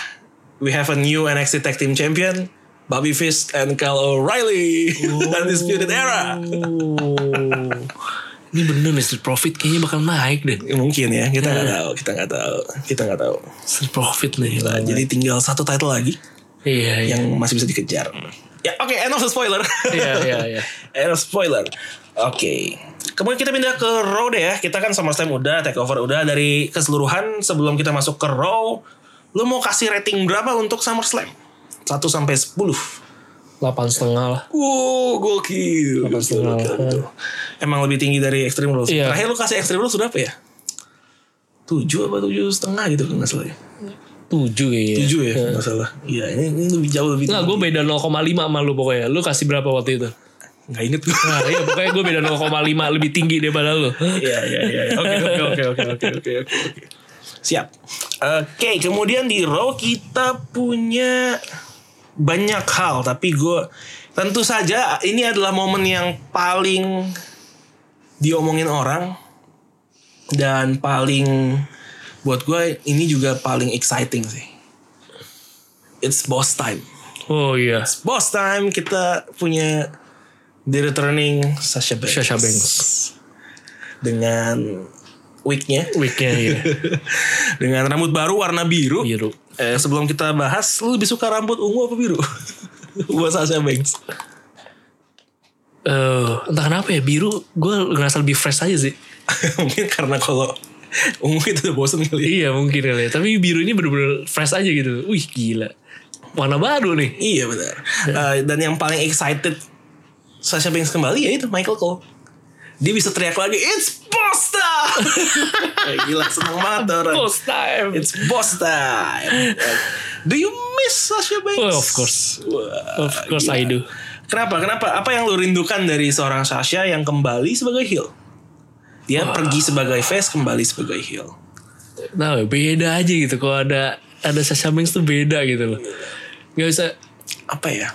A: We have a new NXT Tag Team Champion, Bobby Fish and Kyle O'Reilly. Undisputed Era.
B: Oh. Ini bener nih Street Profit kayaknya bakal naik deh.
A: Ya, mungkin ya, kita nggak
B: Hmm.
A: tahu, kita nggak tahu, kita nggak tahu.
B: Street Profit nih.
A: Nah, jadi tinggal satu title lagi
B: Iya, iya.
A: yang masih bisa dikejar. Ya, oke, end of the spoiler.
B: Iya, iya, iya.
A: End of spoiler. Oke. Kemudian kita pindah ke Raw deh ya. Kita kan SummerSlam udah, Takeover udah. Dari keseluruhan sebelum kita masuk ke Raw, lu mau kasih rating berapa untuk SummerSlam? 1 sampai 10.
B: Delapan setengah lah.
A: Wow, gokil.
B: Delapan setengah.
A: Gokil, betul. Emang lebih tinggi dari Extreme Rules.
B: Iya.
A: Terakhir lu kasih Extreme Rules berapa ya? 7 apa 7 setengah gitu kan nggak salah ya.
B: Tujuh kayaknya.
A: 7 ya nggak salah. Iya, ini, ini lebih jauh lebih
B: Enggak, gue beda 0,5 sama lu pokoknya. Lu kasih berapa waktu itu?
A: Nggak inget gue.
B: Nah, iya, pokoknya gue beda 0,5 lebih tinggi daripada lu.
A: Iya iya iya. iya. Oke oke oke oke oke oke oke. oke. Siap. Oke, kemudian di Raw kita punya banyak hal tapi gue tentu saja ini adalah momen yang paling diomongin orang dan paling buat gue ini juga paling exciting sih. It's boss time.
B: Oh iya.
A: Boss time kita punya the returning Sasha Banks.
B: Sasha Banks.
A: Dengan wignya,
B: Weeknya iya.
A: dengan rambut baru warna biru.
B: Biru.
A: Eh, sebelum kita bahas, lu lebih suka rambut ungu apa biru? Buat Sasha Banks.
B: Eh, entah kenapa ya biru gue ngerasa lebih fresh aja sih.
A: Mungkin karena kalau ungu itu udah bosen kali. ya.
B: iya mungkin kali ya. Tapi biru ini bener-bener fresh aja gitu. Wih gila. Warna baru nih.
A: Iya benar. Eh, dan yang paling excited Sasha Banks kembali ya itu Michael Cole. Dia bisa teriak lagi, it's boss time! Eh, Gila, seneng banget orang.
B: Post time.
A: It's boss time. Do you miss Sasha Banks?
B: Well, Oh, of course.
A: Wah,
B: Of course I do.
A: Kenapa? Kenapa? Apa yang lu rindukan dari seorang Sasha yang kembali sebagai heel? Dia pergi sebagai face, kembali sebagai heel.
B: Nah beda aja gitu. Kalau ada ada Sasha Banks tuh beda gitu loh. Gak bisa.
A: Apa ya?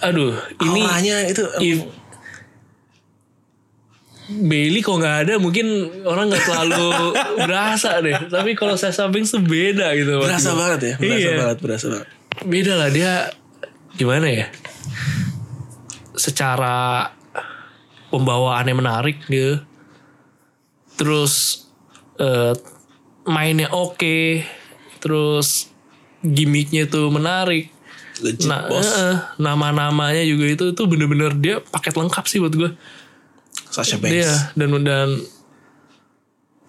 B: Aduh ini.
A: Auranya itu
B: if Bailey kok nggak ada mungkin orang nggak terlalu berasa deh. Tapi kalau Sasha Banks tuh beda gitu.
A: berasa banget ya, berasa
B: Iya.
A: banget, berasa banget.
B: Beda lah dia gimana ya? Secara pembawaannya menarik dia. Terus eh, mainnya oke. Terus gimmicknya tuh menarik.
A: Legit
B: Nah,
A: boss.
B: eh, eh, nama-namanya juga itu itu bener-bener dia paket lengkap sih buat gue.
A: Sasha Banks.
B: Dia dan dan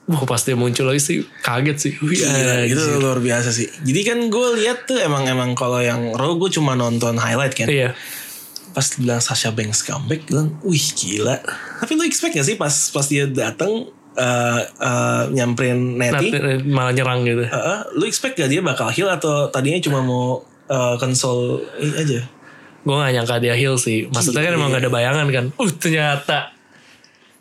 B: wah pas dia muncul lagi sih kaget sih. Wih,
A: Gila, gitu.
B: anjir.
A: itu luar biasa sih. Jadi kan gue lihat tuh emang emang kalau yang Raw gue cuma nonton highlight kan.
B: Iya.
A: Pas bilang Sasha Banks comeback, bilang, wih gila. Tapi lu expect gak sih pas pas dia datang eh, eh, nyamperin
B: Nah,
A: Nettie?
B: eh, malah nyerang gitu.
A: Heeh, lu expect gak dia bakal heal atau tadinya cuma mau eh, console ini aja?
B: Gue gak nyangka dia heal sih. Maksudnya kan emang gak
A: Iya.
B: ada bayangan kan. Uh ternyata.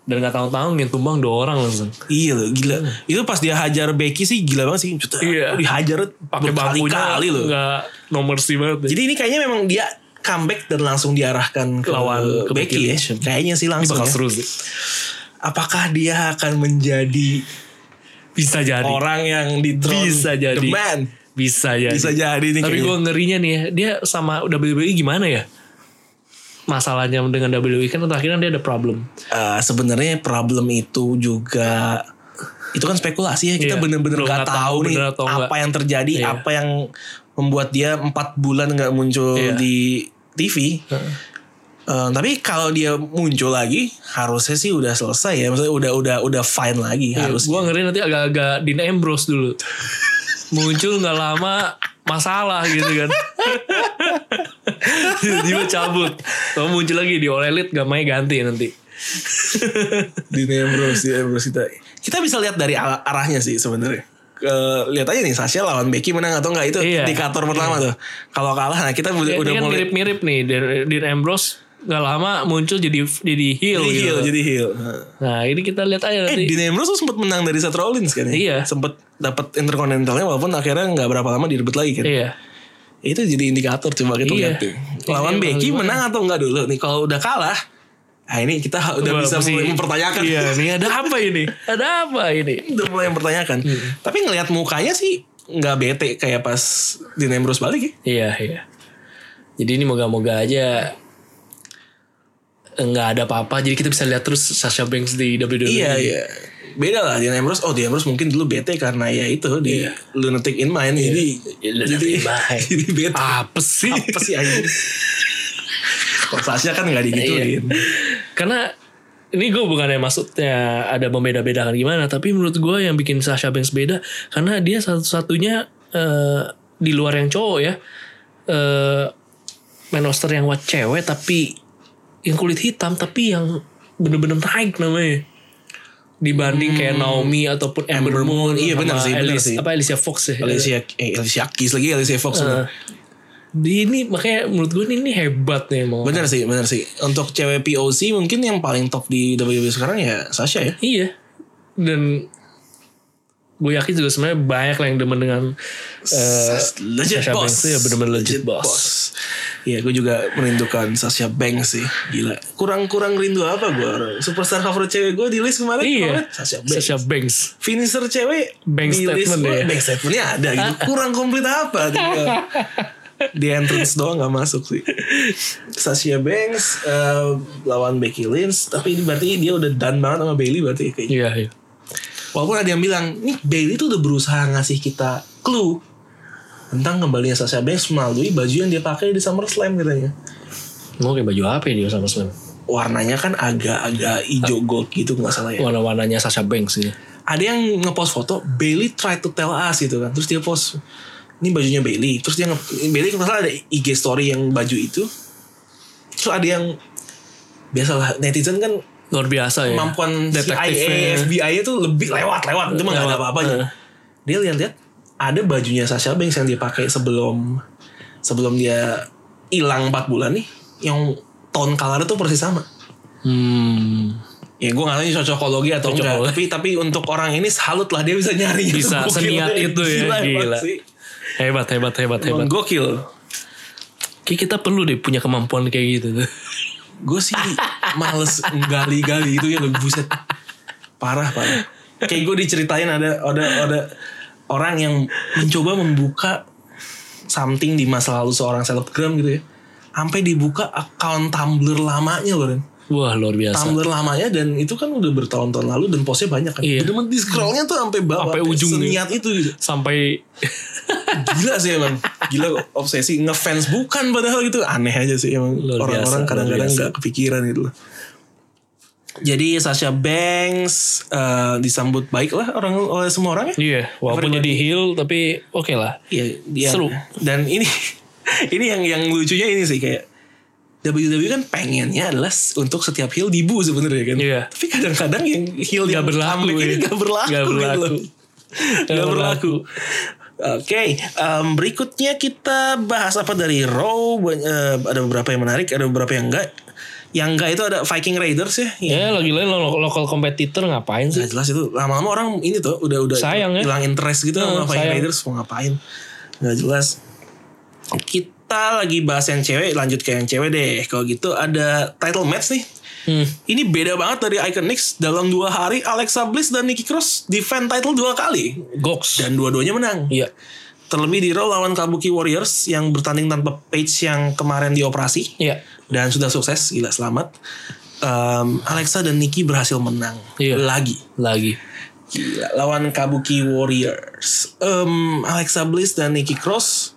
B: Dan gak tanggung-tanggung yang tumbang dua orang langsung.
A: Iya loh, gila. Itu pas dia hajar Becky sih gila banget sih. Cutah,
B: Iya.
A: Dihajar
B: Pakai bangkunya
A: berkali-kali loh.
B: gak nomor sih banget. deh.
A: Jadi ini kayaknya memang dia comeback dan langsung diarahkan ke,
B: Lawan ke
A: Becky ya.
B: Becky.
A: Kayaknya sih
B: Ini
A: langsung
B: bakal
A: ya.
B: seru sih.
A: Apakah dia akan menjadi
B: Bisa jadi.
A: orang yang di throne
B: Bisa jadi.
A: the man?
B: Bisa jadi.
A: Bisa jadi nih
B: Tapi
A: kayaknya.
B: gue ngerinya nih ya, dia sama WWE gimana ya? Masalahnya dengan WWE kan terakhir dia ada problem.
A: Eh, sebenarnya problem itu juga itu kan spekulasi ya kita
B: Iya,
A: bener-bener
B: belum
A: nggak
B: nggak
A: tahu
B: tahu
A: nih
B: bener atau
A: apa
B: nggak.
A: yang terjadi
B: Iya.
A: apa yang membuat dia empat bulan nggak muncul
B: Iya.
A: di TV Eh, tapi kalau dia muncul lagi harusnya sih udah selesai ya maksudnya udah udah udah fine lagi harus
B: Gue ngeri nanti agak-agak Dean Ambrose dulu. Muncul nggak lama masalah gitu kan. Tiba-tiba cabut. Kalau muncul lagi di All Elite gak main ganti nanti.
A: di Ambrose di Ambrose kita kita bisa lihat dari ala- arahnya sih sebenarnya Eh, lihat aja nih Sasha lawan Becky menang atau enggak itu
B: Iya.
A: indikator pertama tuh kalau kalah nah kita udah,
B: Ini
A: udah
B: kan
A: mulai
B: mirip-mirip nih Dean- Dean Ambrose gak lama muncul jadi jadi heel
A: jadi
B: gitu.
A: heel jadi heel Heeh.
B: Nah ini kita lihat aja
A: Eh,
B: nanti.
A: Dean Ambrose tuh sempat menang dari Seth Rollins kan ya?
B: Iya.
A: Sempat dapat Intercontinentalnya walaupun akhirnya nggak berapa lama direbut lagi kan.
B: Iya.
A: Itu jadi indikator coba kita
B: Iya.
A: lihat tuh. Lawan
B: Ini
A: Becky
B: emang
A: menang atau enggak dulu nih? Kalau udah kalah, nah ini kita udah
B: Wah,
A: bisa
B: mesti-
A: mulai mempertanyakan.
B: Iya, ini ada apa ini? Ada apa ini?
A: udah mulai mempertanyakan.
B: Iya.
A: Tapi ngelihat mukanya sih nggak bete kayak pas Dean Ambrose balik ya.
B: Iya, iya. Jadi ini moga-moga aja nggak ada apa-apa. Jadi kita bisa lihat terus Sasha Banks di E. WWE.
A: Iya iya. Beda lah Dean Ambrose. Oh Dean Ambrose mungkin dulu bete karena ya itu di Lunatic in Mind. Jadi
B: Iya,
A: jadi, jadi bete.
B: Ya, Apa sih?
A: apa sih anjing? Kalau Sasha kan gak
B: Iya.
A: digituin.
B: Karena ini gue bukannya maksudnya ada membeda-bedakan gimana, tapi menurut gue yang bikin Sasha Banks beda karena dia satu-satunya eh, di luar yang cowok ya, eh main roster yang buat cewek tapi yang kulit hitam tapi yang bener-bener naik namanya dibanding kayak Naomi ataupun Ember,
A: Hmm. Ember Moon,
B: Moon,
A: iya
B: sama
A: bener sih, bener
B: Alice-
A: sih.
B: apa Alicia Fox ya
A: Alicia, eh, Alicia Keys lagi, Alicia Fox. bener.
B: di ini makanya menurut gue ini, ini hebat nih mau
A: Bener sih, bener sih. Untuk cewek POC mungkin yang paling top di WWE sekarang ya Sasha ya.
B: Iya. Dan gue yakin juga sebenarnya banyak lah yang demen dengan eh,
A: Sas- legit
B: Sasha
A: boss.
B: Banks tuh ya bener-bener legit boss.
A: Iya, gue juga merindukan Sasha Banks sih. Gila. Kurang-kurang rindu apa gue? Superstar cover cewek gue di list kemarin.
B: iya
A: kemarin Sasha Banks.
B: Sasha Banks.
A: Finisher cewek
B: Bank
A: di list
B: statement
A: gue,
B: ya.
A: Bank statementnya ada gitu. Kurang komplit apa? tinggal. di entrance doang nggak masuk sih. Sasha Banks eh, lawan Becky Lynch, tapi ini berarti dia udah done banget sama Bailey berarti kayaknya.
B: Iya, iya.
A: Walaupun ada yang bilang, nih Bailey tuh udah berusaha ngasih kita clue tentang kembalinya Sasha Banks melalui baju yang dia pakai di SummerSlam katanya.
B: Mau kayak baju apa ya dia sama Slam?
A: Warnanya kan agak-agak hijau gold gitu nggak salah ya.
B: Warna-warnanya Sasha Banks sih.
A: ada yang ngepost foto Bailey try to tell us gitu kan terus dia post ini bajunya Bailey terus dia nge Bailey kalau nggak salah ada IG story yang baju itu terus ada yang biasalah netizen kan
B: Luar biasa ya.
A: kemampuan CIA
B: detektifnya.
A: FBI nya tuh lebih lewat lewat itu mah nggak ada
B: Lewat,
A: apa-apanya
B: eh.
A: dia lihat-lihat ada bajunya Sasha Banks yang dia pakai sebelum sebelum dia hilang 4 bulan nih yang tone color tuh persis sama
B: Hmm.
A: Ya gue gak tau ini cocokologi atau enggak
B: Cocokologi.
A: Tapi tapi untuk orang ini salut lah Dia bisa nyari
B: Bisa,
A: Gokil
B: seniat
A: deh.
B: itu ya,
A: emang
B: gila.
A: sih.
B: Hebat, hebat, hebat,
A: Emang
B: hebat.
A: gokil
B: Kayak kita perlu deh punya kemampuan kayak gitu tuh.
A: Gue sih males gali-gali itu ya lebih buset Parah parah Kayak gue diceritain ada, ada, ada Orang yang mencoba membuka Something di masa lalu seorang selebgram gitu ya Sampai dibuka account Tumblr lamanya loh Ren
B: Wah, luar biasa.
A: Tumblr lamanya dan itu kan udah bertahun-tahun lalu dan postnya banyak kan.
B: Iya.
A: Bener-bener di scrollnya tuh sampai bawah.
B: Sampai ujung gitu.
A: Seniat itu gitu.
B: Sampai
A: Gila sih emang. Gila obsesi ngefans bukan padahal gitu. Aneh aja sih emang.
B: Luar biasa,
A: Orang-orang
B: luar
A: kadang-kadang
B: biasa.
A: nggak kepikiran gitu loh. Jadi Sasha Banks eh, disambut baik lah orang oleh semua orang ya.
B: iya, walaupun jadi heel tapi oke lah.
A: Iya, dia-
B: Seru.
A: Dan ini ini yang yang lucunya ini sih kayak WWE kan pengennya adalah s- untuk setiap heel dibu sebenarnya kan.
B: Iya.
A: Tapi kadang-kadang yang heel
B: Nggak
A: yang
B: berlaku,
A: comeback ini
B: ya.
A: gak
B: Nggak
A: berlaku. gitu
B: berlaku.
A: loh. Nggak berlaku. Oke, em, berikutnya kita bahas apa dari Raw. Ba- eh, ada beberapa yang menarik, ada beberapa yang enggak. Yang enggak itu ada Viking Raiders ya. Yang
B: Ya, lagi lain lo lokal kompetitor ngapain sih?
A: Gak jelas itu lama-lama orang ini tuh udah udah
B: Sayang ya.
A: hilang interest gitu sama
B: Hmm,
A: Flying
B: sayang.
A: Raiders mau ngapain. Gak jelas. Kita lagi bahas yang cewek, lanjut ke yang cewek deh. Kalau gitu ada title match nih.
B: Hmm.
A: Ini beda banget dari Iconics. Dalam dua hari Alexa Bliss dan Nikki Cross defend title dua kali
B: Goks.
A: dan dua-duanya menang.
B: Iya.
A: Terlebih di Raw lawan Kabuki Warriors yang bertanding tanpa Page yang kemarin dioperasi
B: Iya.
A: dan sudah sukses. Gila selamat. Em, Alexa dan Nikki berhasil menang
B: Iya.
A: lagi.
B: Lagi.
A: Gila, lawan Kabuki Warriors. Em, Alexa Bliss dan Nikki Cross.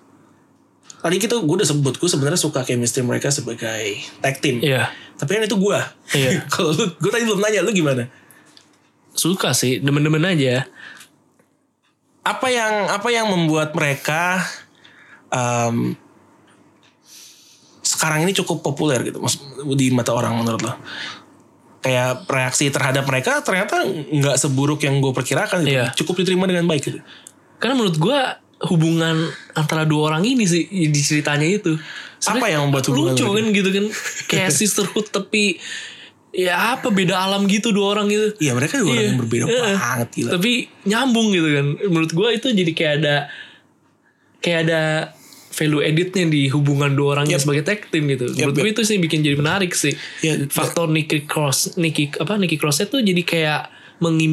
A: Tadi kita gue udah sebut gue sebenarnya suka chemistry mereka sebagai tag team.
B: Iya.
A: Tapi kan itu gue.
B: Iya.
A: Kalau lu, gue tadi belum nanya lu gimana?
B: Suka sih, demen-demen aja.
A: Apa yang apa yang membuat mereka em, sekarang ini cukup populer gitu, mas di mata orang menurut lo? Kayak reaksi terhadap mereka ternyata nggak seburuk yang gue perkirakan gitu.
B: Iya.
A: Cukup diterima dengan baik gitu.
B: Karena menurut gua hubungan antara dua orang ini sih di ceritanya itu.
A: Apa yang membuat hubungan
B: lucu
A: mereka?
B: kan gitu kan kayak sisterhood tapi ya apa beda alam gitu dua orang gitu.
A: Iya mereka dua orang
B: Iya.
A: yang berbeda
B: Heeh.
A: banget gila.
B: Tapi nyambung gitu kan. Menurut gua itu jadi kayak ada kayak ada value editnya di hubungan dua orang yang sebagai tag team gitu. Menurut
A: yep.
B: gua itu sih bikin jadi menarik sih.
A: Iya,
B: Faktor Nikki Cross, Nikki apa Nikki Crossnya tuh jadi kayak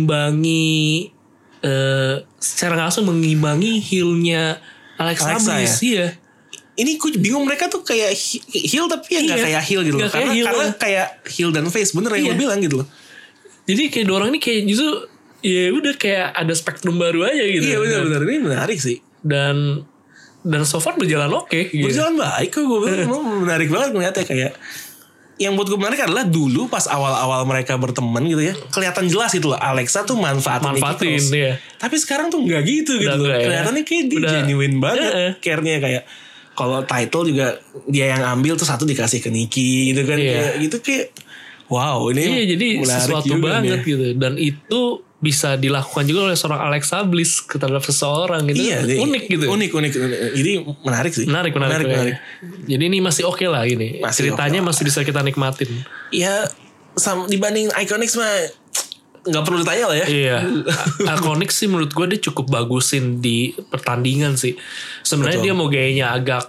B: mengimbangi eh secara nggak langsung mengimbangi heelnya Alexa,
A: Alexa, ya?
B: Bliss iya.
A: ini gue bingung mereka tuh kayak he- heel tapi ya nggak
B: Iya.
A: kayak heel gitu loh.
B: Nggak
A: Karena,
B: kayak heel.
A: karena kayak heel dan face bener yang
B: Iya.
A: lo bilang gitu loh.
B: Jadi kayak dua orang ini kayak justru ya udah kayak ada spektrum baru aja gitu.
A: Iya benar-benar ini menarik sih.
B: Dan dan so far berjalan oke. gitu.
A: Berjalan baik kok gue bilang emang menarik banget ngeliatnya kayak yang buat gue menarik adalah dulu pas awal-awal mereka berteman gitu ya kelihatan jelas gitu loh Alexa tuh manfaatin Nikki
B: manfaatin
A: Cross.
B: ya.
A: Tapi sekarang tuh nggak gitu gitu.
B: Udah
A: loh.
B: nggak ya.
A: Kelihatannya kayak dia
B: Udah.
A: genuine banget
B: Heeh.
A: care-nya kayak kalau title juga dia yang ambil tuh satu dikasih ke Niki gitu kan
B: Iya.
A: kayak gitu kayak wow ini
B: Iya jadi
A: menarik
B: sesuatu
A: juga
B: banget
A: nih. ya.
B: gitu dan itu bisa dilakukan juga oleh seorang Alexa Bliss terhadap seseorang gitu.
A: Iya, dia-
B: unik gitu.
A: Unik unik. unik. Ini menarik sih.
B: Menarik, menarik,
A: menarik.
B: menarik. Jadi ini masih oke lah ini.
A: Masih
B: Ceritanya
A: oke
B: masih bisa kita nikmatin.
A: Ya sama, dibanding Iconics mah nggak perlu ditanya lah ya.
B: Iya. Iconic sih menurut gue dia cukup bagusin di pertandingan sih. Sebenarnya
A: Betul.
B: dia mau gayanya agak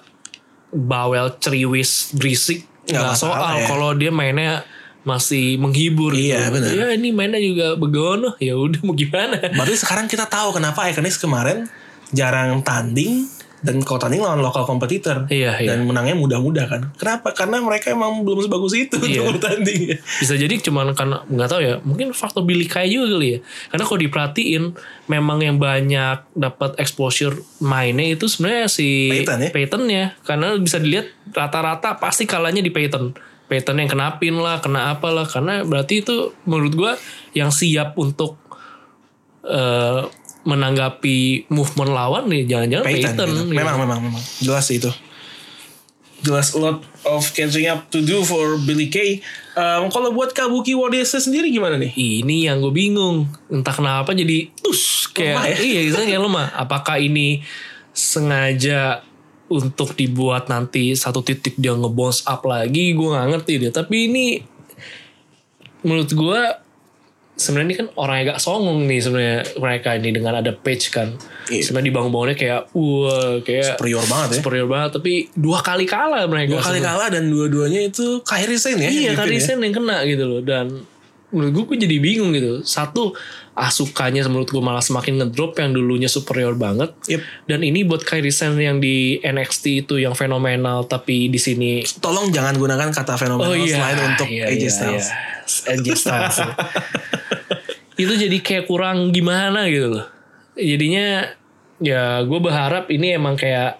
B: bawel, ceriwis, berisik.
A: Nggak
B: Nggak
A: masalah
B: soal
A: ya.
B: kalau dia mainnya masih menghibur
A: Iya,
B: gitu.
A: benar.
B: Ya ini mainnya juga begono. Ya udah mau gimana.
A: Berarti sekarang kita tahu kenapa Iconics kemarin jarang tanding dan kalau tanding lawan lokal kompetitor
B: Iya, iya.
A: dan menangnya mudah-mudah kan kenapa karena mereka emang belum sebagus itu
B: Iya.
A: untuk bertanding
B: bisa jadi cuman karena nggak tahu ya mungkin faktor Billy Kay juga kali ya karena kalau diperhatiin memang yang banyak dapat exposure mainnya itu sebenarnya si
A: Peyton ya?
B: Peyton-nya. karena bisa dilihat rata-rata pasti kalahnya di Peyton Peyton yang kenapin lah kena apalah karena berarti itu menurut gua yang siap untuk eh, menanggapi movement lawan nih jangan-jangan Peyton,
A: Peyton, gitu.
B: gitu.
A: memang memang memang jelas sih itu jelas a lot of catching up to do for Billy Kay Um, kalau buat Kabuki Warriors sendiri gimana nih
B: ini yang gue bingung entah kenapa jadi tus
A: Lemah ya?
B: kayak iya itu kayak lemah apakah ini sengaja untuk dibuat nanti satu titik dia ngebounce up lagi gue nggak ngerti deh tapi ini menurut gue sebenarnya ini kan orang yang agak songong nih sebenarnya mereka ini dengan ada page kan
A: Iya.
B: sebenarnya dibangun-bangunnya kayak wah kayak
A: superior banget ya
B: superior banget tapi dua kali kalah mereka
A: dua kali
B: sebenarnya.
A: kalah dan dua-duanya itu Kyrie Sane ya
B: Iya
A: yang
B: tadi
A: pimpin ya.
B: Sen yang kena gitu loh dan menurut gue, gue jadi bingung gitu. Satu asukannya menurut gue malah semakin ngedrop yang dulunya superior banget.
A: Yep.
B: Dan ini buat Kyrie Sen yang di NXT itu yang fenomenal tapi di sini
A: tolong jangan gunakan kata fenomenal selain untuk
B: Oh, iya,
A: AJ
B: iya,
A: Styles
B: iya. AJ Styles. itu jadi kayak kurang gimana gitu loh. Jadinya ya gue berharap ini emang kayak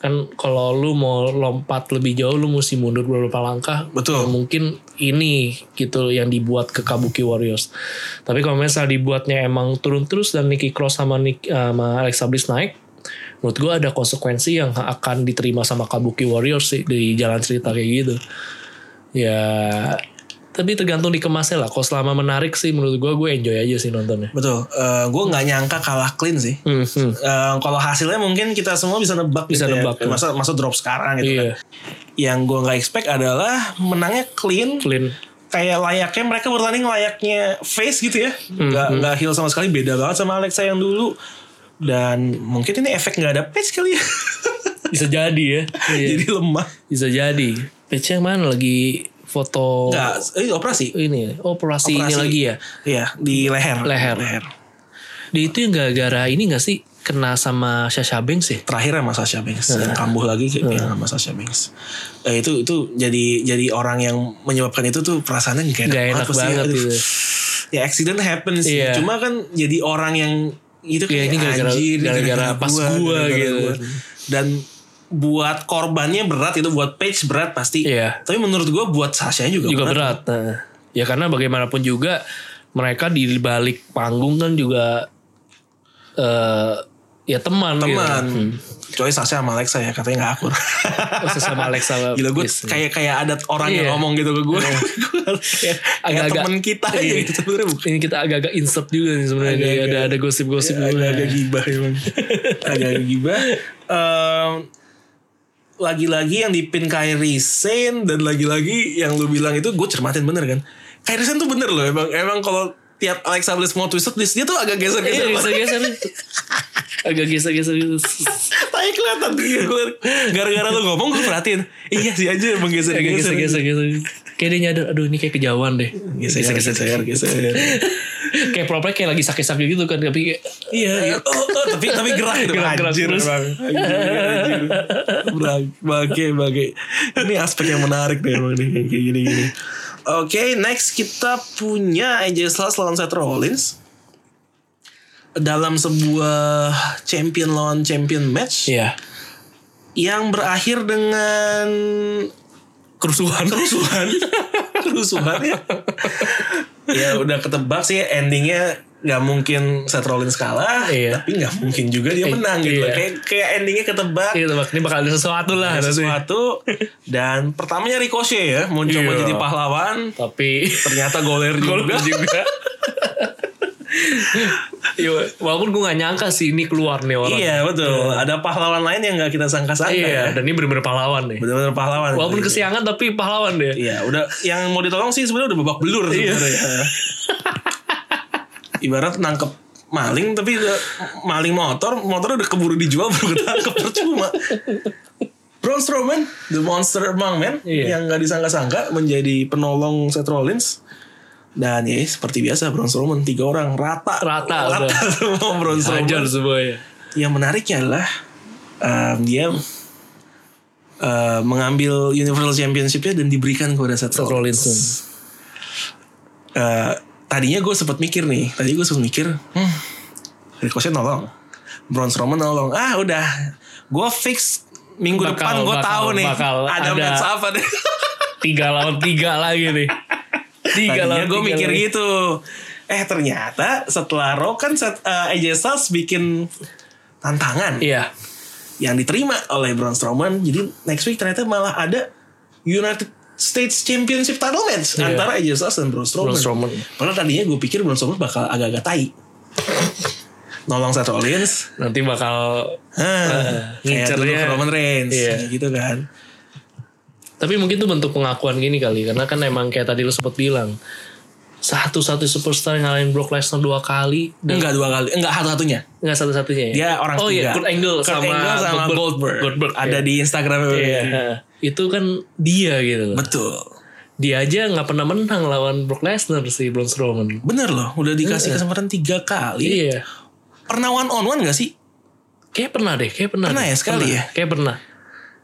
B: kan kalau lu mau lompat lebih jauh lu mesti mundur beberapa langkah.
A: Betul.
B: Ya Mungkin ini gitu yang dibuat ke Kabuki Warriors. Tapi kalau misalnya dibuatnya emang turun terus dan Nikki Cross sama Nick, sama Alexa Bliss naik, menurut gue ada konsekuensi yang akan diterima sama Kabuki Warriors sih di jalan cerita kayak gitu. Ya, tapi tergantung dikemasnya lah. Kalau selama menarik sih menurut gue, gue enjoy aja sih nontonnya.
A: betul gue nggak nyangka kalah clean sih
B: Hmm, hmm.
A: Eh, kalau hasilnya mungkin kita semua bisa nebak
B: Bisa
A: gitu
B: nebak,
A: ya.
B: ya.
A: masa masa drop sekarang gitu
B: Iya,
A: kan yang gue nggak expect adalah menangnya clean
B: clean.
A: kayak layaknya mereka bertanding layaknya face gitu ya nggak
B: Hmm.
A: nggak heel sama sekali beda banget sama Alexa yang dulu dan mungkin ini efek nggak ada patch kali ya
B: Bisa jadi ya. Iya.
A: jadi lemah
B: Bisa jadi. Pece yang mana lagi foto
A: nggak eh, operasi
B: ini? Oh, operasi, ini
A: Operasi.
B: lagi ya.
A: Iya di leher
B: Leher. Dia itu yang gara-gara ini gak sih kena sama Sasha Banks ya? sih?
A: terakhir sama Sasha Banks
B: Iya.
A: yang kambuh lagi kayak yang sama Sasha Banks Eh, itu itu jadi jadi orang yang menyebabkan itu tuh perasaannya gak enak,
B: Gak enak
A: pasti.
B: banget
A: Aduh.
B: gitu.
A: ya accident happens
B: Iya.
A: cuma kan jadi orang yang
B: Iya,
A: itu kayak
B: ini gara-gara-
A: anjir ini
B: gara-gara pas gua
A: gara-gara
B: gitu.
A: gua. dan buat korbannya berat itu buat Page berat pasti
B: Iya.
A: tapi menurut gua buat Sasha juga,
B: juga berat. Nah, ya karena bagaimanapun juga mereka di balik panggung kan juga eh ya teman.
A: teman
B: Gitu.
A: coy Sasha sama Alexa ya katanya gak akur
B: Terus sama Alexa.
A: gila gue
B: Bliss.
A: kayak kayak ada orang
B: Iya.
A: yang ngomong gitu ke gue agak
B: Agak-agak-
A: teman kita aja
B: Iya.
A: gitu sebenarnya bukan
B: ini kita agak-agak insert juga nih sebenarnya nih.
A: Agak-agak- iya,
B: ada ada gosip-gosip ya. juga.
A: agak-agak gitu. gibah emang agak-agak gibah Em, lagi-lagi yang dipin Kyrie Sane dan lagi-lagi yang lu bilang itu gue cermatin bener kan Kyrie Sane tuh bener loh emang emang kalau tiap Alexa Bliss mau twisted dia dia tuh agak
B: Iya,
A: geser-geser
B: geser-geser. agak geser-geser gitu.
A: tapi kelihatan Iya, gua- gara-gara lu ngomong gue perhatiin iya sih aja emang
B: Agak
A: geser-geser
B: geser-geser. gitu. Kayak dia nyadar, aduh ini kayak kejauhan deh.
A: geser-geser geser
B: kayak proper kayak lagi sakit-sakit gitu kan. Tapi kayak,
A: Iya, iya. Oh, oh, tapi tapi gerak gitu.
B: Gerak-gerak
A: anjir,
B: terus.
A: Bang. Anjir, anjir. Bang, Bangke, bangke. Ini aspek yang menarik nih emang nih kayak gini gini. Oke, next kita punya AJ Styles lawan Seth Rollins dalam sebuah champion lawan champion match
B: iya.
A: yang berakhir dengan kerusuhan kerusuhan kerusuhan ya ya udah ketebak sih endingnya nggak mungkin Seth Rollins kalah
B: Iya.
A: tapi nggak mungkin juga dia
B: Eh,
A: menang gitu
B: iya.
A: kayak kayak endingnya ketebak
B: Kayak tebak, Iya, ini bakal ada sesuatu lah.
A: ada
B: nanti.
A: sesuatu dan pertamanya Ricochet ya mau coba
B: Iya.
A: jadi pahlawan
B: Tapi
A: ternyata goler juga
B: Golput juga. Yo, Iya, walaupun gue gak nyangka sih ini keluar nih orang.
A: iya betul ada pahlawan lain yang nggak kita sangka-sangka
B: Iya,
A: ya
B: dan ini bener-bener pahlawan nih.
A: benar-benar pahlawan
B: Walaupun
A: Iya.
B: kesiangan tapi pahlawan deh.
A: Iya, udah yang mau ditolong sih sebenarnya udah babak belur
B: Iya.
A: sebenarnya. Ibarat nangkep maling tapi udah maling motor, motor udah keburu dijual baru ketangkep percuma. Braun Strowman, the monster among men
B: Iya.
A: yang nggak disangka-sangka menjadi penolong Seth Rollins. Dan ya seperti biasa Braun Strowman tiga orang rata
B: Rata,
A: rata semua Braun Strowman.
B: Hajar semua ya.
A: Yang menariknya adalah um, dia uh, mengambil Universal Championship-nya dan diberikan kepada Seth
B: Seth
A: Rollins.
B: Rollins.
A: Eh, tadinya gue sempat mikir nih, tadi gue sempat mikir, hmm, Ricochet nolong, Braun Strowman nolong, ah udah, gue fix minggu
B: Bakal-
A: depan gue
B: bakal-
A: tahu nih
B: bakal
A: ada,
B: ada-
A: match apa deh.
B: Tiga lawan tiga lagi nih. Tiga
A: tadinya
B: lawan
A: gue
B: tiga
A: mikir
B: lagi.
A: gitu, eh ternyata setelah Raw kan set, eh, AJ Styles bikin tantangan
B: Iya.
A: yang diterima oleh Braun Strowman, jadi next week ternyata malah ada United States Championship title match
B: Iya.
A: antara AJ Styles dan Braun Strowman.
B: Braun Strowman.
A: Padahal tadinya gue pikir Braun Strowman bakal agak-agak tai. Nolong Seth Rollins.
B: Nanti bakal
A: Hah, kayak dulu
B: ngincernya.
A: ke Roman Reigns.
B: Ah, Iya.
A: kayak gitu kan.
B: tapi mungkin itu bentuk pengakuan gini kali karena kan emang kayak tadi lu sempat bilang satu-satu superstar yang ngalahin Brock Lesnar dua kali dan
A: Enggak dua kali. Enggak satu-satunya.
B: Enggak satu-satunya ya?
A: Dia orang
B: Oh iya,
A: ketiga.
B: Kurt Angle
A: Kurt
B: sama,
A: Angle sama Goldberg. Ada
B: iya.
A: di Instagram.
B: Iya. Itu kan dia gitu loh.
A: Betul.
B: Dia aja nggak pernah menang lawan Brock Lesnar si Braun Strowman.
A: Bener loh. Udah dikasih kesempatan tiga kali.
B: Iya.
A: Pernah one on one gak sih?
B: Kayak pernah deh, kayak pernah.
A: Pernah
B: deh.
A: ya, sekali ya?
B: Kayak pernah.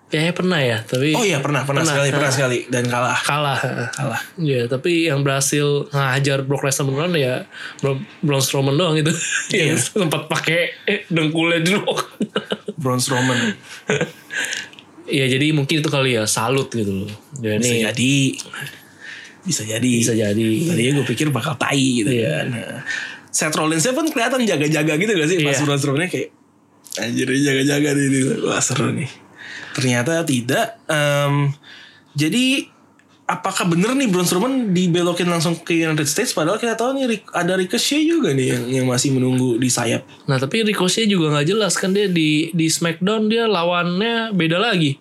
B: Kayaknya pernah ya, tapi
A: Oh iya pernah. Pernah, sekali. Pernah sekali. Dan kalah.
B: kalah.
A: Kalah.
B: Iya, tapi yang berhasil ngajar Brock Lesnar beneran ya Bro- Braun Strowman doang itu.
A: Iya.
B: Yang sempat pakai eh, dengkulnya di
A: Braun Strowman.
B: Iya, jadi mungkin itu kali ya salut gitu loh. Ya,
A: Bisa
B: ini
A: jadi. Bisa jadi.
B: bisa jadi.
A: Tadinya gue pikir bakal tai gitu
B: Iya.
A: kan. Nah, Seth Rollins-nya pun kelihatan jaga-jaga gitu gak sih? Pas
B: Iya.
A: Braun Strowman-nya kayak anjir ini jaga-jaga nih. nih. Wah seru nih. Ternyata tidak. Em, jadi apakah bener nih Braun Strowman dibelokin langsung ke United States? Padahal kita tahu nih Ric- ada Ricochet juga nih yang, yang masih menunggu di sayap.
B: Nah tapi Ricochet juga nggak jelas kan dia di di Smackdown dia lawannya beda lagi.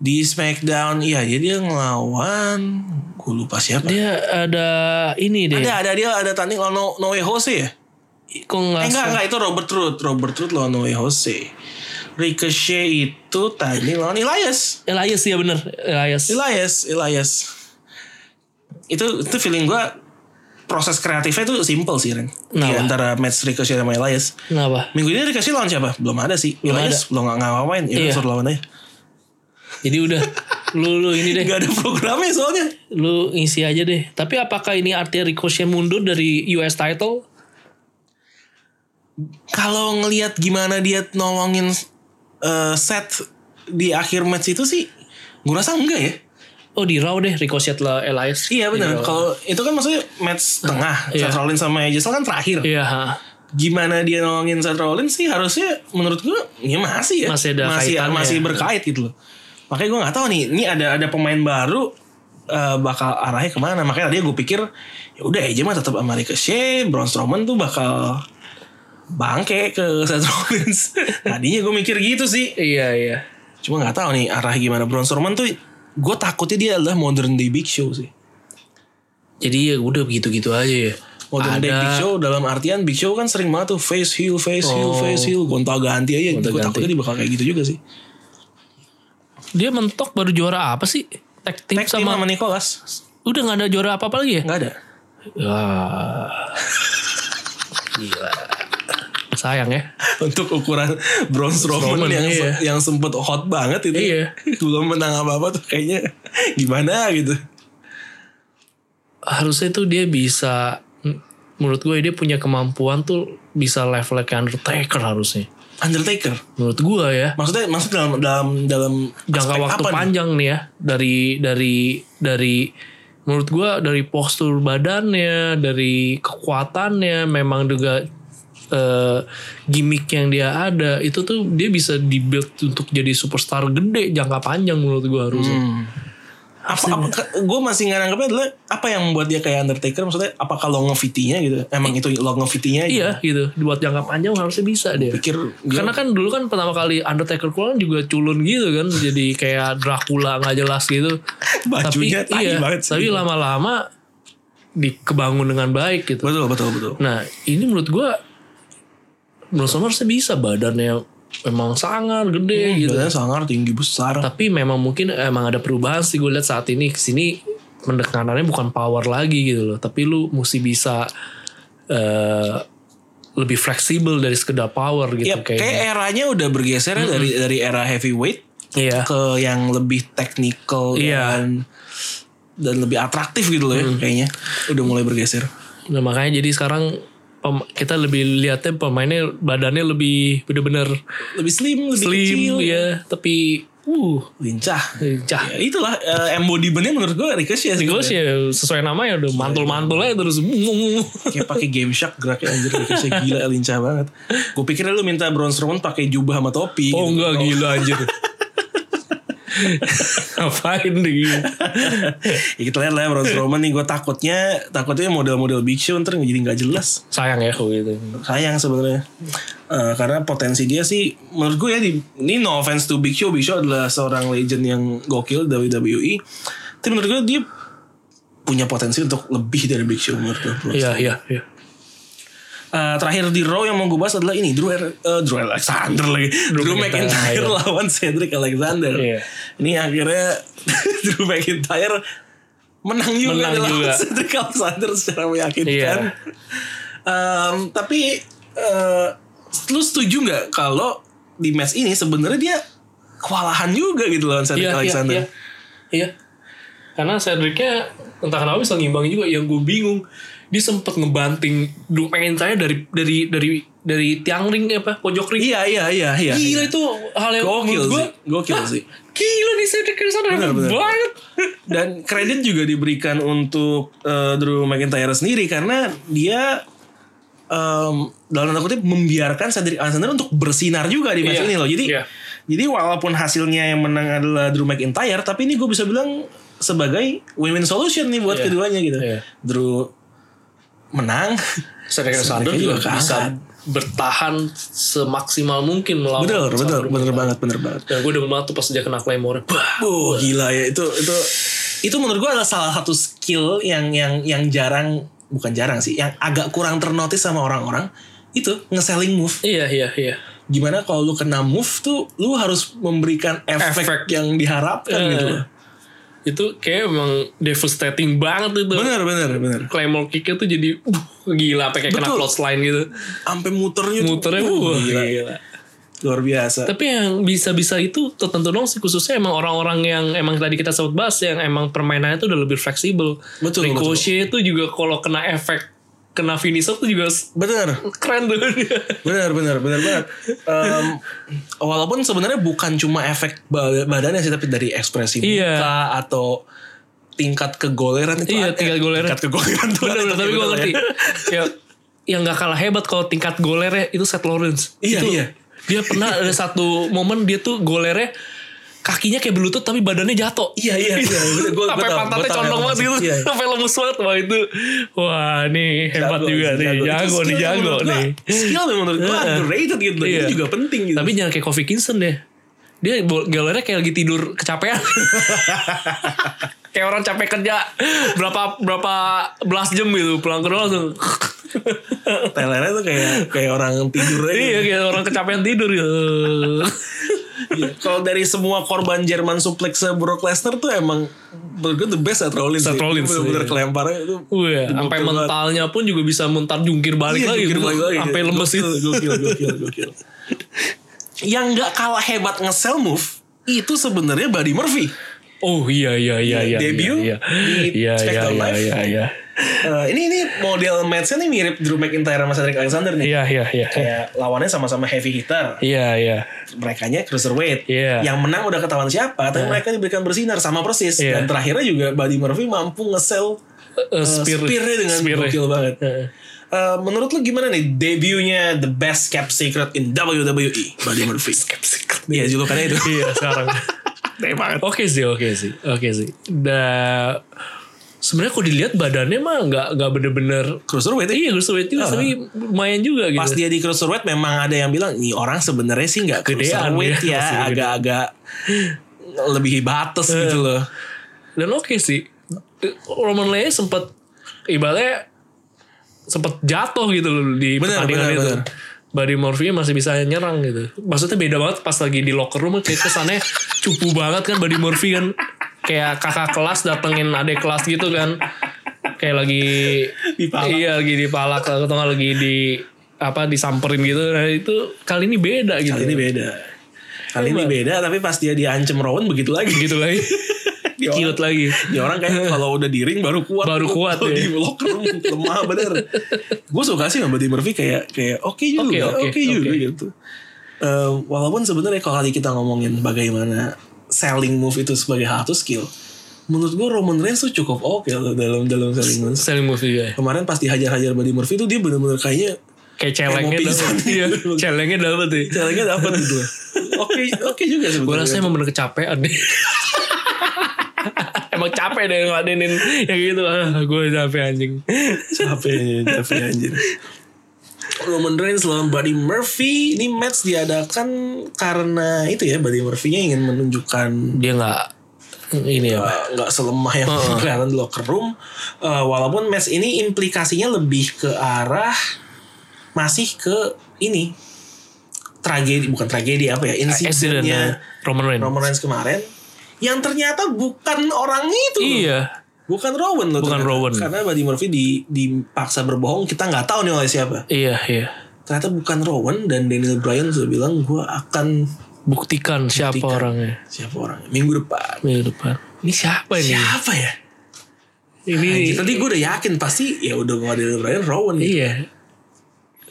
A: Di SmackDown, iya jadi dia ngelawan. Gue lupa siapa.
B: Dia ada ini deh.
A: ada, ada dia ada tanding lawan No, no Way Jose ya?
B: Kok nggak
A: Eh, enggak,
B: salah.
A: enggak itu Robert Root. Robert Root lawan Noe Jose. Ricochet itu tadi lawan Elias.
B: Elias ya bener Elias.
A: Elias, Elias. Itu itu feeling gue proses kreatifnya itu simple sih Ren. Di
B: Kenapa?
A: antara match Ricochet sama Elias.
B: Kenapa?
A: Minggu ini Ricochet lawan siapa? Belum ada sih.
B: Belum
A: Elias belum nggak ngapain. Ya,
B: Iya.
A: suruh lawan aja.
B: Jadi udah lu lu ini deh
A: Gak ada programnya soalnya.
B: lu ngisi aja deh. Tapi apakah ini artinya Ricochet mundur dari US title?
A: Kalau ngelihat gimana dia nolongin eh, set di akhir match itu sih, gue rasa enggak ya.
B: Oh di Raw deh Ricochet lah Elias.
A: Iya benar.
B: Di Raw.
A: Kalau itu kan maksudnya match tengah
B: Gitu. Iya.
A: Seth Rollins sama AJ Styles kan terakhir.
B: Iya. ha.
A: Gimana dia nolongin Seth Rollins sih harusnya menurut gue ya masih ya.
B: Masih ada
A: masih,
B: kaitannya.
A: masih berkait gitu loh. Makanya gue nggak tahu nih, ini ada ada pemain baru eh, bakal arahnya kemana makanya tadi gue pikir ya udah AJ mah tetap Amerika Shea Braun Strowman tuh bakal bangke ke Seth Rollins tadinya gue mikir gitu sih
B: Iya iya.
A: Cuma nggak tahu nih arah gimana Braun Strowman tuh gue takutnya dia adalah modern day Big Show sih.
B: Jadi ya udah begitu-gitu aja ya.
A: Modern day Big Show dalam artian Big Show kan sering banget tuh face heel face heel
B: Oh.
A: face heel gonta ganti aja. Gue
B: Gonta-ganti.
A: takutnya dia bakal kayak gitu juga sih.
B: Dia mentok baru juara apa sih? Tag team
A: Tag team
B: sama,
A: sama Nicholas
B: udah nggak ada juara apa apa lagi ya?
A: nggak ada.
B: Wah. Gila. Sayang ya.
A: Untuk ukuran Braun Strowman
B: Strowman,
A: yang
B: iya.
A: yang sempet hot banget itu
B: Iya.
A: belum menang apa apa tuh kayaknya gimana gitu.
B: Harusnya tuh dia bisa m- menurut gue ya dia punya kemampuan tuh bisa level kayak Undertaker harusnya.
A: Undertaker
B: Menurut gue ya.
A: maksudnya maksud dalam dalam dalam
B: Jangka
A: aspek
B: waktu
A: apa nih?
B: panjang nih ya dari dari dari menurut gue dari postur badannya, dari kekuatannya memang juga eh, gimmick yang dia ada itu tuh dia bisa dibuild untuk jadi superstar gede jangka panjang menurut gue harusnya.
A: Hmm. apa, apa gue masih nggak nganggapnya adalah apa yang membuat dia kayak Undertaker maksudnya apakah longevity-nya gitu emang itu longevity-nya
B: Iya gitu buat jangka panjang harusnya bisa dia.
A: pikir dia-
B: Karena kan dulu kan pertama kali Undertaker keluar juga culun gitu kan jadi kayak Dracula nggak jelas gitu.
A: Bajunya tai banget sih.
B: Tapi lama-lama dikebangun dengan baik gitu.
A: betul betul betul
B: Nah ini menurut gua Braun Strowman harusnya bisa badannya memang sangar gede gitu.
A: gitu sangar tinggi besar
B: Tapi memang mungkin emang ada perubahan sih gue lihat saat ini kesini pendekatannya bukan power lagi gitu loh. Tapi lu mesti bisa eh lebih fleksibel dari sekedar power gitu
A: Ya, kayak
B: kayaknya.
A: eranya udah bergeser ya dari dari era heavyweight
B: Iya.
A: ke yang lebih technical
B: Iya.
A: dan dan lebih atraktif gitu loh ya kayaknya. Udah mulai bergeser.
B: Nah, makanya jadi sekarang pem- kita lebih lihatnya pemainnya badannya lebih bener-bener
A: Lebih slim, lebih kecil,
B: slim ya, tapi uh
A: lincah.
B: cah.
A: Ya, itulah eh, embodiment-nya menurut gue Ricochet.
B: Gue sih ya, sesuai namanya udah mantul-mantul aja terus.
A: Kayak pakai game shark geraknya anjir Ricochet gila lincah banget. Gue pikir lu minta Braun Strowman pakai jubah sama topi.
B: Oh
A: gitu.
B: enggak gila anjir. Ngapain nih?
A: Ya kita lihat lah ya, Braun Strowman nih gue takutnya takutnya model-model Big Show ntar jadi nggak jelas.
B: Sayang ya kalau gitu.
A: sayang sebenarnya Eh, karena potensi dia sih menurut gue ya di, ini no offense to Big Show Big Show adalah seorang legend yang gokil WWE E. tapi menurut gue dia punya potensi untuk lebih dari Big Show menurut gue
B: Iya iya iya.
A: Eh, terakhir di Raw yang mau gue bahas adalah ini Drew, eh, Drew Alexander lagi Drew, McIntyre lawan Cedric Alexander
B: Iya.
A: ini akhirnya Drew McIntyre menang juga
B: Menang
A: lawan
B: juga.
A: Cedric Alexander secara meyakinkan
B: Iya.
A: Em, tapi eh, lu setuju nggak kalau di match ini sebenarnya dia kewalahan juga gitu lawan Cedric
B: Iya, iya,
A: Alexander
B: iya, iya. Karena Cedric-nya entah kenapa bisa ngimbang juga. Yang gue bingung, dia sempet ngebanting Drew McIntyre dari dari dari dari tiang ring apa pojok ring.
A: iya iya iya iya
B: Gila itu hal yang
A: Gokil
B: menurut gua,
A: sih, gokil
B: "Hah,
A: sih."
B: Gila nih Cedric Alexander
A: Benar,
B: hebat
A: benar.
B: banget.
A: dan kredit juga diberikan untuk eh, Drew McIntyre sendiri karena dia em, dalam tanda kutip membiarkan Cedric Alexander untuk bersinar juga di match
B: Iya,
A: ini loh jadi
B: iya.
A: jadi walaupun hasilnya yang menang adalah Drew McIntyre tapi ini gue bisa bilang sebagai win-win solution nih buat
B: Iya.
A: keduanya gitu
B: Iya.
A: Drew menang
B: Cedric Alexander
A: Cedric
B: juga
A: juga
B: bisa
A: keangkat.
B: bertahan semaksimal mungkin melawan.
A: bener
B: Alexander
A: bener bener
B: McIntyre.
A: banget bener banget
B: Dan gue udah banget tuh pas dia kena Claymore. Bah,
A: Oh gila ya itu itu itu menurut gue adalah salah satu skill yang yang yang jarang bukan jarang sih yang agak kurang ternotis sama orang-orang itu nge-selling move
B: Iya iya iya.
A: gimana kalau lu kena move tuh lu harus memberikan efek,
B: Efek.
A: yang diharapkan
B: Eh.
A: gitu loh
B: Itu kayak emang devastating banget itu.
A: bener bener bener
B: Claymore kicknya tuh jadi uh, gila apa kayak kena
A: Betul.
B: clothesline gitu.
A: sampai muternya tuh,
B: Muternya
A: uh,
B: uh,
A: gila. luar biasa
B: Tapi yang bisa-bisa itu tertentu dong sih khususnya emang orang-orang yang emang tadi kita sempat bahas yang emang permainannya tuh udah lebih fleksibel.
A: Betul,
B: Ricochet itu juga kalau kena efek kena finisher tuh juga s-
A: bener
B: keren tuh dia.
A: bener bener bener banget Em, walaupun sebenarnya bukan cuma efek ba- badannya sih tapi dari ekspresi
B: Iya.
A: muka atau tingkat kegoleran itu
B: Iya,
A: ada.
B: tingkat goleran.
A: tingkat kegoleran tuh ada,
B: Bener-bener, tapi gue
A: bener
B: ngerti.
A: ya.
B: ya, yang gak kalah hebat kalau tingkat golernya itu Seth Lawrence.
A: Iya,
B: Itu,
A: iya.
B: Dia pernah ada satu momen dia tuh golernya kakinya kayak berlutut tapi badannya jatuh.
A: iya iya iya bener. Gua- gua
B: sampai
A: tahu,
B: pantatnya
A: gua tahu
B: condong
A: yang
B: banget gitu
A: maksud. Iya.
B: sampai lemes banget wah itu wah nih hebat
A: Jago,
B: juga nih
A: Itu
B: jago nih
A: skill yang
B: jago
A: menurut gua-
B: nih
A: skill yang menurut gue
B: Heeh.
A: underrated gitu
B: Iya.
A: itu juga penting gitu
B: tapi jangan kayak Kofi Kingston deh dia bol- galernya kayak lagi tidur kecapean kayak orang capek kerja berapa berapa belas jam gitu pulang ke rumah langsung
A: telernya tuh kayak kayak orang tidur aja
B: iya kayak orang kecapean tidur gitu
A: Iya. kalau dari semua korban Jerman suplex Brock Lesnar tuh emang menurut gue the best Seth Rollins
B: Seth
A: sih.
B: Rollins,
A: bener-bener
B: iya.
A: kelemparnya itu
B: Wih, sampai
A: banget.
B: mentalnya pun juga bisa mentar jungkir balik
A: Iya,
B: lagi, gitu.
A: jungkir balik lagi.
B: sampai lemes gitu.
A: Gokil,
B: itu.
A: Gokil, gokil, gokil. Yang nggak kalah hebat nge-sell move itu sebenarnya Buddy Murphy.
B: Oh iya iya iya iya.
A: Debut
B: iya,
A: di
B: iya. iya
A: SmackDown
B: iya
A: Live.
B: iya iya.
A: Eh, ini ini model match-nya nih mirip Drew McIntyre sama Cedric Alexander nih.
B: Iya iya iya.
A: Kayak lawannya sama-sama heavy hitter.
B: Iya iya.
A: Mereka cruiserweight.
B: Iya.
A: Yang menang udah ketahuan siapa, tapi mereka diberikan bersinar sama persis.
B: Iya.
A: Dan terakhirnya juga Buddy Murphy mampu nge-sell
B: Eh,
A: eh, spear-nya dengan
B: spear-nya.
A: gokil banget.
B: Heeh.
A: Eh, menurut lu gimana nih debutnya The Best Kept Secret in WWE Buddy Murphy? Kept Secret. Iya julukannya itu.
B: Iya sekarang.
A: Teh banget.
B: Oke sih oke sih oke sih. Da sebenarnya kalau dilihat badannya mah nggak nggak bener-bener
A: Cruiserweight ya?
B: iya gue sweet juga tapi lumayan juga gitu.
A: Pas dia di cruiserweight memang ada yang bilang nih orang sebenarnya sih nggak
B: Gedean
A: cruiserweight
B: dia, masih
A: ya
B: gede.
A: agak-agak lebih batas
B: Eh.
A: gitu loh.
B: Dan oke sih. Roman Reigns sempat ibaratnya sempat jatuh gitu loh di
A: Bener,
B: pertandingan
A: bener,
B: itu.
A: bener.
B: Buddy Murphy masih bisa nyerang gitu. Maksudnya beda banget pas lagi di locker room kayak kesannya cupu banget kan Buddy Murphy kan kayak kakak kelas datengin adik kelas gitu kan. Kayak lagi
A: Dipalak.
B: Iya, lagi dipalak atau nggak lagi di apa disamperin gitu nah itu kali ini beda gitu
A: Kali ini beda. Kali ini beda tapi pas dia diancem Rowan begitu lagi.
B: gitu lagi ciut lagi
A: Ini orang kayak kalau udah diring baru kuat.
B: Eh. Baru kuat,
A: Kalau
B: ya.
A: di locker room lemah bener. Gue suka sih sama Tim Murphy kayak kayak oke juga,
B: Oke,
A: oke
B: oke,
A: juga
B: oke.
A: gitu. Eh, walaupun sebenarnya kalau tadi kita ngomongin bagaimana selling move itu sebagai hard to skill, menurut gue Roman Reigns tuh cukup oke loh dalam dalam selling move.
B: selling move juga ya.
A: Kemarin pas dihajar-hajar Buddy Murphy tuh dia bener-bener kayaknya
B: kayak celengnya
A: mau
B: dapet
A: pingsan.
B: iya celengnya dapet ya
A: caranya dapat gitu. Oke oke
B: gue
A: juga sebenarnya.
B: rasanya emang bener kecapean deh emang capek deh ngeladenin yang gitu ah gue capek anjing
A: capek capek anjir Roman Reigns lawan Buddy Murphy ini match diadakan karena itu ya Buddy Murphy-nya ingin menunjukkan
B: dia nggak ini ya
A: uh, nggak selemah yang kelihatan di locker room Uh, walaupun match ini implikasinya lebih ke arah masih ke ini tragedi bukan tragedi apa ya
B: accident ah.
A: insidennya
B: Roman Reigns
A: Roman Reigns kemarin yang ternyata bukan orang itu loh.
B: iya
A: bukan Rowan loh
B: Bukan
A: ternyata.
B: Rowan.
A: karena Buddy Murphy di, dipaksa berbohong kita nggak tahu nih oleh siapa
B: iya iya
A: ternyata bukan Rowan dan Daniel Bryan sudah bilang gue akan
B: buktikan siapa
A: Buktikan.
B: orangnya
A: siapa orangnya minggu depan
B: minggu depan ini siapa ini
A: siapa ya
B: ini
A: Anjir, tadi gue udah yakin pasti ya udah gak Daniel Bryan Rowan gitu.
B: iya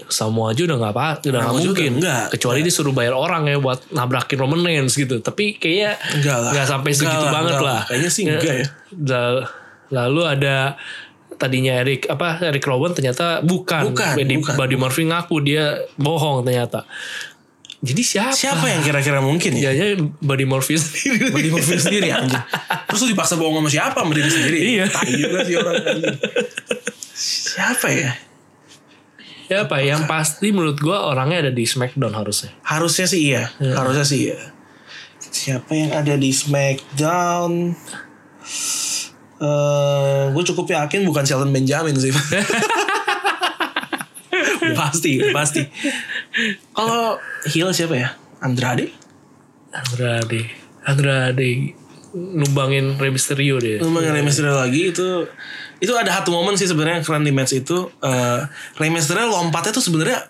B: semua aja udah nggak apa udah nggak
A: Aku juga
B: mungkin
A: nggak.
B: kecuali disuruh bayar orang ya buat nabrakin Roman Reigns gitu tapi kayaknya
A: Enggak lah.
B: nggak sampai
A: Enggak
B: segitu
A: lah,
B: banget
A: enggak
B: lah.
A: lah. Kayaknya sih enggak ya.
B: Dal- Lalu ada tadinya Eric apa Eric Rowan ternyata bukan.
A: Bukan,
B: Buddy,
A: bukan.
B: Buddy Murphy ngaku dia bohong ternyata. Jadi siapa?
A: siapa yang kira-kira mungkin ya
B: Jadinya Buddy Murphy sendiri.
A: Buddy Murphy sendiri anjir terus lu dipaksa bohong sama siapa sama diri sendiri
B: Iya.
A: Tai juga sih orang anjir. siapa ya
B: siapa? Yang pasti menurut gua orangnya ada di SmackDown harusnya.
A: harusnya sih iya harusnya sih iya siapa yang ada di Smackdown eh gue cukup yakin bukan Shelton Benjamin sih pasti pasti kalau heel siapa ya Andrade
B: Andrade. Andrade numbangin Rey Mysterio dia.
A: Lumayan Rey Mysterio lagi itu itu ada satu momen sih sebenarnya yang keren di match itu eh Rey Mysterio lompatnya tuh sebenarnya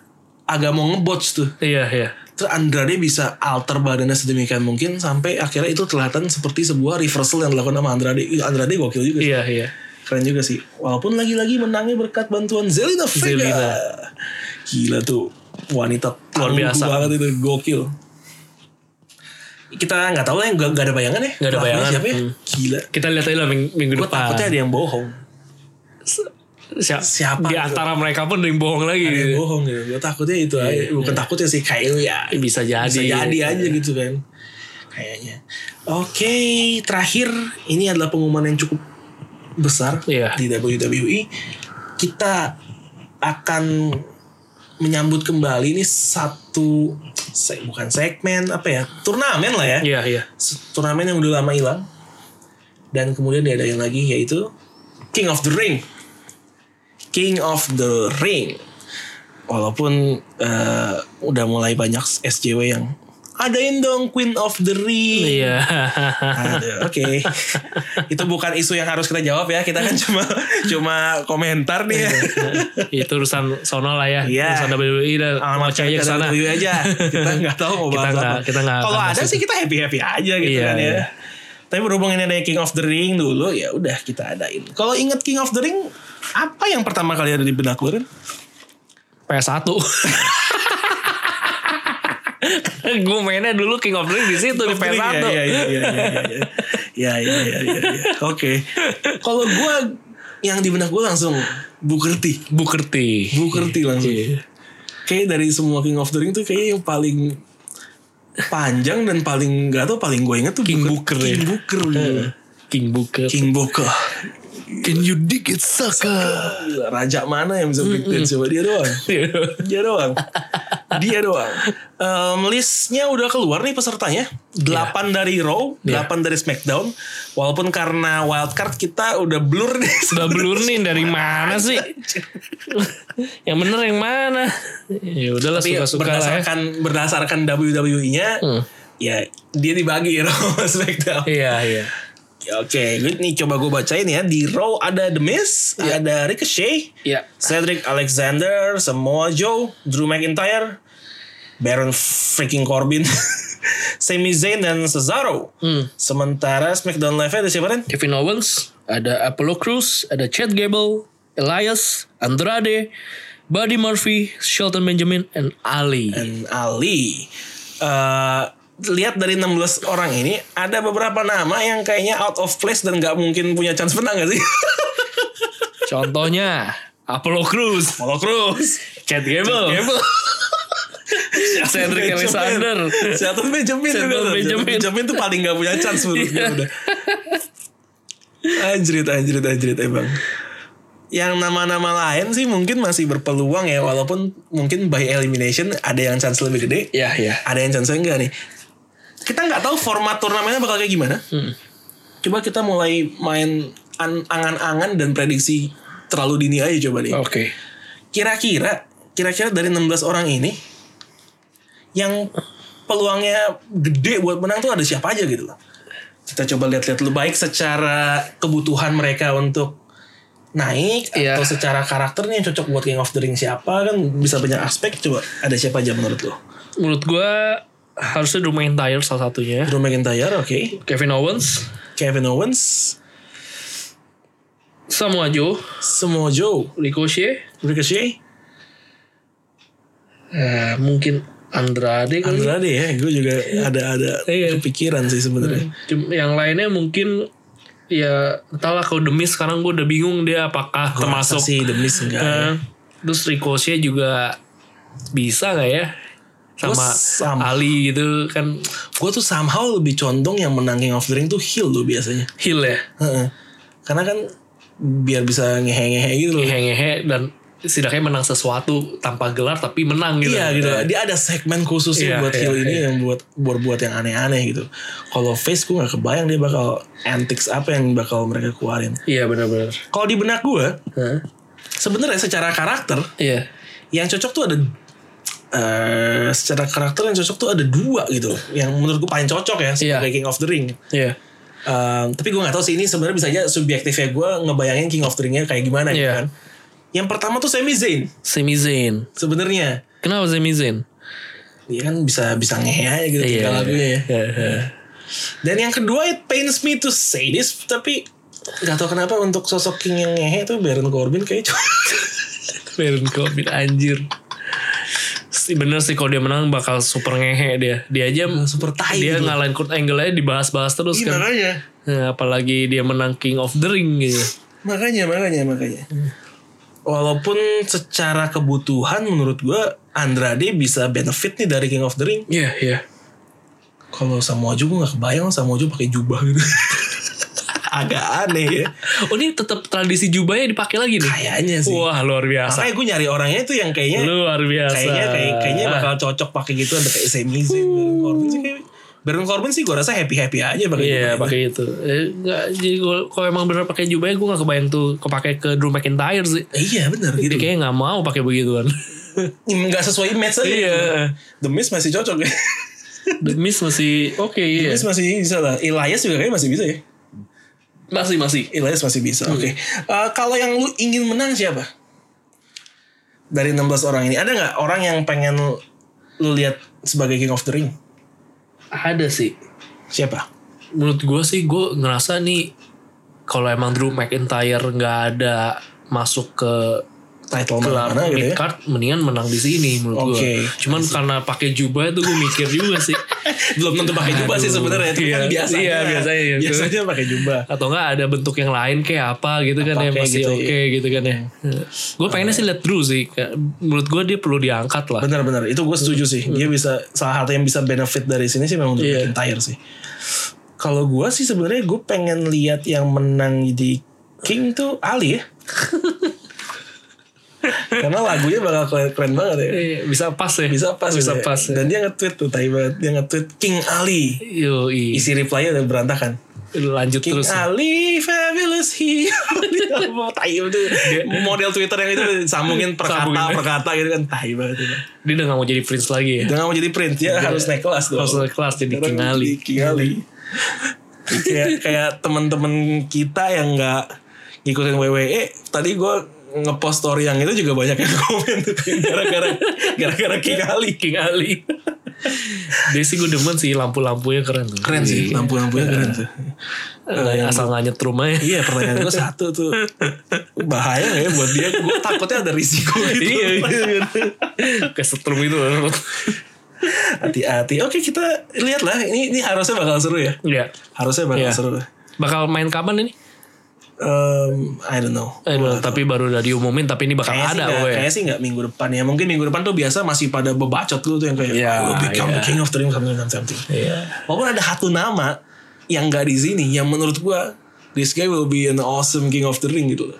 A: agak mau ngebotch tuh
B: Iya, iya.
A: Terus Andrade bisa alter badannya sedemikian mungkin sampai akhirnya itu kelihatan seperti sebuah reversal yang dilakukan sama Andrade. Ih, Andrade gokil juga sih.
B: Iya, iya.
A: Keren juga sih. Valaupun lagi-lagi menangnya berkat bantuan Zelina Vega.
B: Zelina.
A: Gila tuh wanita
B: Luar
A: tangguh
B: biasa.
A: banget itu gokil. Kita nggak tahu lah yang nggak ada bayangan ya.
B: Nggak ada
A: Pelakunya
B: bayangan.
A: Siapa ya?
B: Hmm.
A: Gila.
B: Kita lihat aja lah ming- minggu
A: Gue
B: depan.
A: takutnya ada yang bohong.
B: Siap-
A: Siapa
B: di
A: gitu?
B: antara mereka pun ada yang bohong lagi
A: Ada
B: gitu.
A: yang bohong gitu. Gue takutnya itu
B: Iya,
A: aja. Bukan takutnya sih kayak ya.
B: bisa jadi
A: bisa jadi aja gitu kan kayaknya oke terakhir ini adalah pengumuman yang cukup besar
B: Iya.
A: di WWE kita akan menyambut kembali ini satu se- bukan segmen apa ya turnamen lah ya
B: iya iya
A: Se- turnamen yang udah lama hilang dan kemudian diadain lagi yaitu King of the Ring King of the Ring walaupun eh, udah mulai banyak SJW yang adain dong Queen of the Ring
B: iya
A: Aduh, oke itu bukan isu yang harus kita jawab ya kita kan cuma cuma komentar nih ya
B: itu urusan sono lah ya
A: Iya.
B: urusan WWE dan mau
A: Alamat
B: cari
A: cari
B: ke sana
A: aja kita nggak tahu mau
B: Kita
A: bahas
B: nggak-
A: apa
B: kita nggak
A: kalau
B: akan
A: ada
B: bahas
A: sih kita happy happy aja gitu
B: Iya,
A: kan ya
B: iya.
A: tapi berhubung ini ada King of the Ring dulu ya udah kita adain kalau inget King of the Ring apa yang pertama kali ada di benak lu Ren?
B: PS1 gue mainnya dulu King of the Ring di situ di PS1
A: Ring, ya ya ya ya ya ya ya ya, ya, ya. oke kalau gue yang di benak gue langsung Booker T
B: Booker T
A: Booker T langsung
B: Iya.
A: kayak dari semua King of the Ring tuh kayaknya yang paling panjang dan paling gak tau paling gue inget tuh
B: King Booker ya.
A: King Booker gitu.
B: King Booker
A: King Booker
B: Can you dig it sucker
A: Gila, raja mana yang bisa breakdance coba dia doang
B: Iya.
A: dia doang dia doang Em, listnya udah keluar nih pesertanya
B: Iya.
A: 8 dari Raw 8 dari SmackDown walaupun karena wildcard kita udah blur nih
B: Udah blur nih dari mana sih Yang bener yang mana Ya udahlah
A: Tapi
B: suka-suka lah ya Hmm.
A: berdasarkan berdasarkan WWE-nya ya dia dibagi Raw sama SmackDown
B: Iya iya
A: Oke, good nih coba gue bacain ya. Di Raw ada The Miz,
B: Iya.
A: ada Ricochet,
B: Iya.
A: Cedric Alexander, Samoa Joe, Drew McIntyre, Baron freaking Corbin, Sami Zayn dan Cesaro. Sementara SmackDown Live ada siapa Ren?
B: Kevin Owens, ada Apollo Cruz, ada Chad Gable, Elias, Andrade, Buddy Murphy, Shelton Benjamin, and Ali.
A: Dan Ali. Eh, lihat dari 16 orang ini ada beberapa nama yang kayaknya out of place dan nggak mungkin punya chance menang gak sih?
B: Contohnya Apollo Cruz,
A: Apollo Cruz,
B: Chad Gable,
A: Gable.
B: Cedric
A: Benjamin.
B: Alexander.
A: Shelton Benjamin
B: Shelton
A: juga tuh. Shelton
B: Benjamin.
A: Benjamin tuh paling gak punya chance menurut gue udah. Anjrit, anjrit, anjrit emang. Yang nama-nama lain sih mungkin masih berpeluang ya walaupun mungkin by elimination ada yang chance lebih gede,
B: Ya, ya.
A: ada yang chance enggak nih. Kita nggak tahu format turnamennya bakal kayak gimana. Coba kita mulai main an- angan-angan dan prediksi terlalu dini aja coba nih
B: Oke.
A: kira-kira kira-kira dari 16 orang ini yang peluangnya gede buat menang tuh ada siapa aja gitu loh. Kita coba lihat-lihat lu baik secara kebutuhan mereka untuk naik
B: Iya.
A: atau secara karakternya yang cocok buat King of the Ring siapa kan bisa banyak aspek coba ada siapa aja menurut lo?
B: Menurut gue harusnya Drew McIntyre salah satunya.
A: Drew McIntyre, oke.
B: Kevin Owens,
A: Kevin Owens,
B: Samoa Joe,
A: Samoa Joe,
B: Ricochet,
A: Ricochet,
B: eh, mungkin Andrade kali.
A: Andrade ya, gue juga ada ada
B: Iya. Hmm.
A: kepikiran sih sebenarnya.
B: Cum- Yang lainnya mungkin ya entahlah kalau demi sekarang gue udah bingung dia apakah termasuk
A: Masa sih demi enggak. ya?
B: Eh, terus Ricochet juga bisa nggak ya sama,
A: Terus sama.
B: Ali gitu kan
A: gue tuh somehow lebih condong yang menang King of the Ring tuh heel loh biasanya.
B: heel ya
A: Heeh. Karena kan biar bisa ngehe-ngehe gitu loh.
B: ngehe-ngehe dan setidaknya menang sesuatu tanpa gelar tapi menang gitu
A: Iya gitu. Dia ada segmen
B: Iya,
A: khususnya buat
B: iya,
A: heel ini
B: iya.
A: yang buat buat buat yang aneh-aneh gitu. Kalau face gue gak kebayang dia bakal antics apa yang bakal mereka keluarin.
B: iya benar-benar
A: Kalau di benak gue
B: Hah?
A: sebenarnya secara karakter
B: iya
A: yang cocok tuh ada eh secara karakter yang cocok tuh ada dua gitu yang menurut gue paling cocok ya sebagai King of the Ring
B: iya
A: Um, tapi gue gak tahu sih ini sebenarnya bisa aja subjektifnya gue ngebayangin King of the Ring-nya kayak gimana gitu
B: Iya.
A: kan. Yang pertama tuh Sami Zayn
B: Sami Zayn
A: sebenarnya
B: kenapa Sami Zayn
A: dia kan bisa bisa ngehe aja gitu tiga lagunya ya.
B: iya, iya.
A: Dan yang kedua it pains me to say this tapi gak tau kenapa untuk sosok King yang ngehe tuh Baron Corbin kayak cuma
B: Baron Corbin anjir Si- bener sih kalau dia menang bakal super ngehe dia dia aja
A: super tai
B: dia
A: gitu.
B: ngalahin Kurt Angle aja dibahas-bahas terus
A: Iya,
B: kan
A: makanya
B: Nah, apalagi dia menang King of the Ring gitu.
A: makanya makanya makanya. Walaupun secara kebutuhan menurut gue Andrade bisa benefit nih dari King of the Ring.
B: Iya, iya.
A: Kalau Samoa Joe gue gak kebayang Samoa Joe pakai jubah gitu. Agak aneh ya.
B: Oh, ini tetap tradisi jubahnya dipakai lagi nih.
A: Kayaknya sih.
B: Wah, luar biasa.
A: Makanya gue nyari orangnya tuh yang kayaknya
B: Luar biasa.
A: kayaknya kayak, kayaknya bakal cocok pakai gitu ada kayak Sami Zayn, Baron Corbin sih kayak Baron Corbin sih gue rasa happy happy aja pakai
B: Iya,
A: jubah gitu.
B: pakai itu. Eh, nggak, jadi kalau- kalau emang bener pakai jubahnya gue gak kebayang tuh kepake ke Drew McIntyre sih.
A: gitu. Iya benar gitu.
B: Dia kayaknya gak mau pakai begituan.
A: Nggak sesuai match aja.
B: Iya.
A: The Miz masih cocok ya.
B: The Miz masih oke
A: The
B: iya.
A: Miz masih bisa lah. Elias juga kayaknya masih bisa ya.
B: Masih masih.
A: Elias masih bisa. Oke. Eh, kalau yang lu ingin menang siapa? Dari 16 orang ini ada nggak orang yang pengen lu lihat sebagai King of the Ring?
B: Ada sih.
A: Siapa?
B: Menurut gue sih gue ngerasa nih kalau emang Drew McIntyre nggak ada masuk ke
A: Title
B: gelar
A: mana gitu ya?
B: midcard mendingan menang di sini menurut
A: Oke. Iya
B: gue. Cuman karena pakai jubah itu gue mikir juga sih.
A: belum tentu pakai jubah sih
B: Aduh,
A: sebenarnya tapi kan
B: iya.
A: biasanya
B: Iya, biasanya gitu.
A: biasanya pakai jubah
B: Atau enggak ada bentuk yang lain kayak apa gitu kan
A: Apa
B: ya
A: kayak
B: masih
A: gitu,
B: oke gitu kan ya. Gue pengennya sih lihat Drew sih. Kayak, Menurut gue dia perlu diangkat lah.
A: benar-benar itu gue setuju sih dia bisa salah satu yang bisa benefit dari sini sih memang untuk
B: Iya.
A: McIntyre sih kalau gue sih sebenarnya gue pengen lihat yang menang di King tuh Ali ya karena lagunya bakal keren, keren banget ya
B: Eh, Bisa pas ya.
A: bisa pas
B: Bisa
A: gitu ya.
B: pas. Ya.
A: dan dia nge-tweet tuh tai banget dia nge-tweet King Ali
B: Yoi.
A: isi reply-nya udah berantakan
B: lanjut
A: King
B: terus.
A: Ali Fabulous Hero Mau tai itu Model Twitter yang itu Sambungin
B: Sambungin.
A: perkata-perkata gitu kan Tai banget itu.
B: Dia udah gak mau jadi prince lagi ya.
A: Dia gak mau jadi print Ya Iya. harus naik kelas dong
B: Harus naik kelas jadi
A: Sekarang
B: King Ali.
A: jadi King Ali kayak kayak teman-teman kita yang nggak ngikutin WWE tadi gue ngepost story yang itu juga banyak yang komen gara-gara gara-gara King Ali
B: King Ali. Dia sih gue demen sih lampu-lampunya keren tuh.
A: keren sih
B: Iya.
A: lampu-lampunya keren tuh
B: Eh, asal nggak nyetrum aja.
A: iya pertanyaan gue satu tuh bahaya nggak ya buat dia gue takutnya ada risiko gitu
B: Iya, iya, iya. Kayak setrum itu.
A: hati-hati oke kita lihatlah ini ini harusnya bakal seru ya
B: Iya.
A: harusnya bakal
B: Iya.
A: seru
B: Bakal main kapan ini?
A: Um, I don't know
B: Eh,
A: Gua-
B: tapi baru udah diumumin tapi ini bakal ada
A: Kayaknya sih nggak-
B: gue.
A: Kayaknya sih nggak minggu depan ya. Mungkin minggu depan tuh biasa masih pada bebacot dulu tuh yang kayak
B: Iya,
A: I will become the
B: iya.
A: king of dream something something, something.
B: Iya.
A: Walaupun ada satu nama yang nggak di sini yang menurut gua this guy will be an awesome king of the ring gitu loh.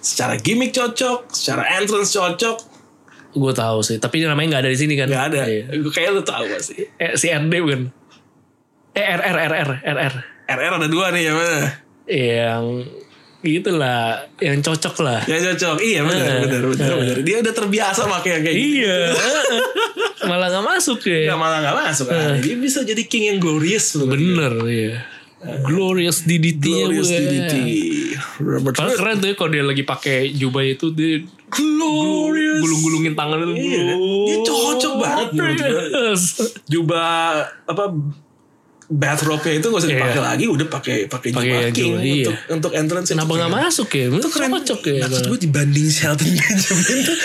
A: Secara gimmick cocok, secara entrance cocok,
B: Gue tahu sih, tapi namanya nggak ada di sini kan?
A: nggak ada.
B: Iya.
A: Gua kayak lu tahu pasti.
B: Eh, si RD bukan? Eh RR RR RR.
A: RR ada dua nih yang mana?
B: Yang gitulah, yang cocok lah.
A: Yang cocok. Iya benar,
B: Eh,
A: benar, benar, benar. Dia udah terbiasa pakai yang kayak gitu.
B: Iya. Malah nggak masuk
A: Nggak
B: ya.
A: malah nggak masuk. Ah, Dia bisa jadi king yang glorious loh.
B: Bener ya. Glorious DDT -nya
A: Glorious
B: Iya, gue.
A: DDT. Robert
B: ya, Padahal keren tuh ya kalau dia lagi pakai jubah itu dia glorious gulung-gulungin tangan itu.
A: Iya, kan? Dia cocok banget menurut gue.
B: Glorious.
A: jubah apa bathrobe-nya itu gak usah dipakai
B: Iya.
A: lagi udah pakai pakai
B: Pakai
A: jubah
B: yang
A: king
B: jubah, iya.
A: untuk untuk entrance
B: Kenapa nggak masuk ya? Itu keren cocok ya.
A: maksud gue dibanding Shelton Benjamin tuh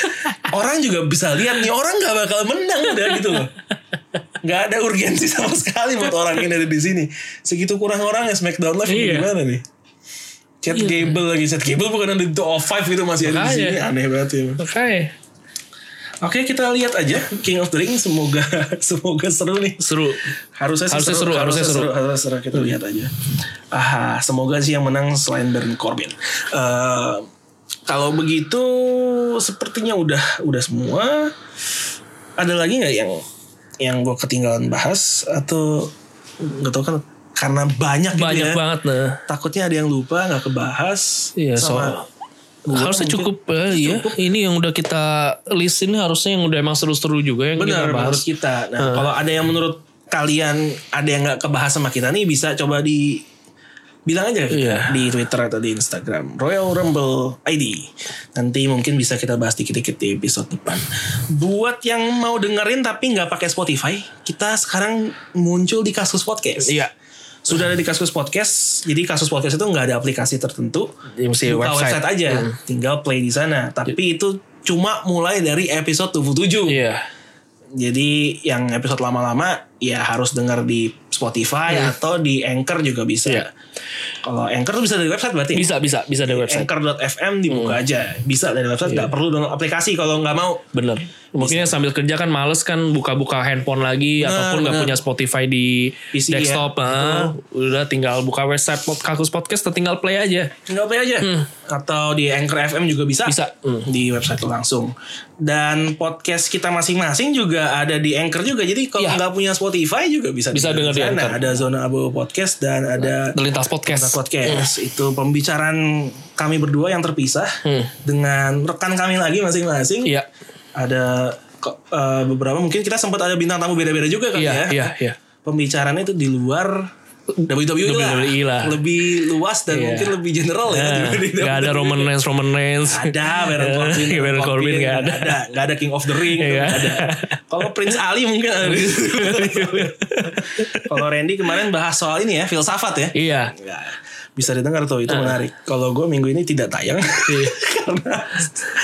A: orang juga bisa lihat nih orang nggak bakal menang udah gitu loh nggak ada urgensi sama sekali buat orang ini ada di sini segitu kurang orang ya Smackdown Live
B: Iya.
A: gimana nih Chad Gable lagi Chad Gable bukan ada di top five itu masih ada di
B: Makanya.
A: sini aneh banget ya
B: Makanya
A: Oke kita lihat aja King of the Ring semoga semoga seru nih
B: seru.
A: Harusnya, sih
B: Harusnya seru, harusnya seru.
A: harusnya seru. Kita lihat aja. Aha, semoga sih yang menang selain Baron Corbin. Eh, kalau begitu sepertinya udah udah semua. Ada lagi nggak yang yang gue ketinggalan bahas atau nggak tahu kan karena banyak gitu
B: Banyak
A: ya.
B: banget nah.
A: Takutnya ada yang lupa nggak kebahas.
B: Iya,
A: Sama gua
B: Harusnya
A: mungkin.
B: cukup eh, iya. Ini yang udah kita list ini harusnya yang udah emang seru-seru juga yang kita
A: Benar
B: bahas.
A: menurut kita. Nah, kalau ada yang menurut kalian ada yang nggak kebahas sama kita nih bisa coba di bilang aja ke kita
B: Iya.
A: di Twitter atau di Instagram Royal Rumble ID. Nanti mungkin bisa kita bahas dikit-dikit di episode depan. Buat yang mau dengerin tapi nggak pakai Spotify, kita sekarang muncul di Kasus Podcast.
B: Iya.
A: Sudah ada di Kasus Podcast. Jadi Kasus Podcast itu nggak ada aplikasi tertentu.
B: Di mesti
A: Buka
B: website. Hmm.
A: website, aja, tinggal play di sana. Tapi itu cuma mulai dari episode 77.
B: Iya.
A: Jadi yang episode lama-lama ya harus dengar di Spotify atau di Anchor juga bisa.
B: Iya.
A: Kalau Anchor tuh bisa dari website berarti. ya?
B: Bisa bisa bisa
A: Iya,
B: dari website. Hmm. Iya.
A: Anchor.fm dibuka aja. Bisa dari website nggak perlu download aplikasi kalau nggak mau.
B: Bener. Mungkin yang sambil kerja kan males kan buka-buka handphone lagi ataupun nggak
A: bener.
B: punya Spotify di
A: PC,
B: desktop. ah. udah tinggal buka website pod- Kakus Podcast tinggal play aja.
A: Tinggal play aja. Atau di Anchor FM juga bisa.
B: Hmm. Bisa. Hmm.
A: Di website langsung. Dan podcast kita masing-masing juga ada di Anchor juga. Jadi kalau
B: Iya.
A: nggak punya Spotify juga bisa
B: Bisa
A: dengar
B: dengar di
A: sana.
B: Anchor. Nah.
A: Ada Zona Abu Podcast dan ada
B: Terlintas podcast.
A: Podcast. Podcast itu pembicaraan kami berdua yang terpisah dengan rekan kami lagi masing-masing.
B: Hmm. Iya.
A: Ada ko- eh, beberapa mungkin kita sempat ada bintang tamu beda-beda juga kan
B: Iya,
A: ya.
B: iya, iya.
A: Pembicaraan itu di luar WWE,
B: WWE
A: lah.
B: E lah.
A: Lebih luas dan
B: Iya.
A: mungkin lebih general ya. dibanding
B: Gak ada
A: WWE.
B: Roman Reigns, Roman Reigns.
A: Ada Baron Corbin,
B: Iya, Baron Corbin nggak ada.
A: nggak ada, nggak ada King of the Ring,
B: Iya.
A: nggak ada. Kalau Prince Ali mungkin ada. di situ. Kalau Randy kemarin bahas soal ini ya, filsafat ya.
B: Iya.
A: Ya, bisa didengar
B: Ah.
A: tuh itu menarik. Kalau gue minggu ini tidak
B: Iya.
A: tayang karena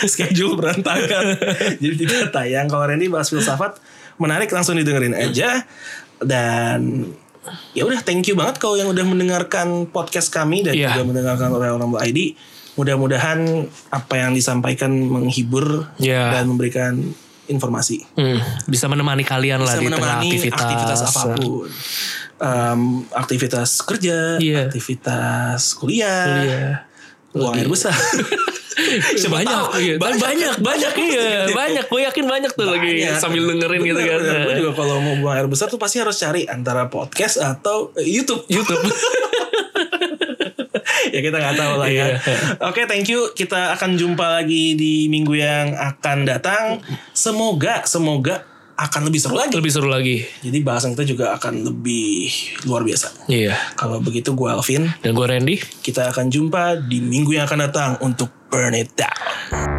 A: schedule berantakan, jadi tidak tayang. Kalau Randy bahas filsafat menarik langsung didengerin aja dan ya udah thank you banget kalau yang udah mendengarkan podcast kami dan
B: Iya.
A: juga mendengarkan Royal Rumble ID. Mudah-mudahan apa yang disampaikan menghibur
B: Iya.
A: dan memberikan informasi
B: Hmm, bisa menemani kalian lah
A: bisa
B: di tengah
A: menemani aktivitas,
B: aktivitas.
A: apapun. Em, aktivitas kerja,
B: Iya.
A: aktivitas kuliah,
B: Kuliah.
A: uang air besar. Siapa
B: Iya. banyak,
A: tahu,
B: iya. banyak, banyak, banyak, iya, banyak. Gue yakin banyak tuh
A: Iya.
B: lagi Iya, sambil dengerin gitu kan.
A: Gue juga kalau mau buang air besar tuh pasti harus cari antara podcast atau eh, YouTube.
B: YouTube.
A: ya kita nggak tahu lah ya.
B: Iya.
A: Oke, thank you. Kita akan jumpa lagi di minggu yang akan datang. Semoga, semoga akan lebih seru lagi.
B: Lebih seru lagi.
A: Jadi bahasan kita juga akan lebih luar biasa.
B: Iya.
A: Kalau begitu gue Alvin,
B: Dan gue Randy.
A: kita akan jumpa di minggu yang akan datang untuk Burn It Down.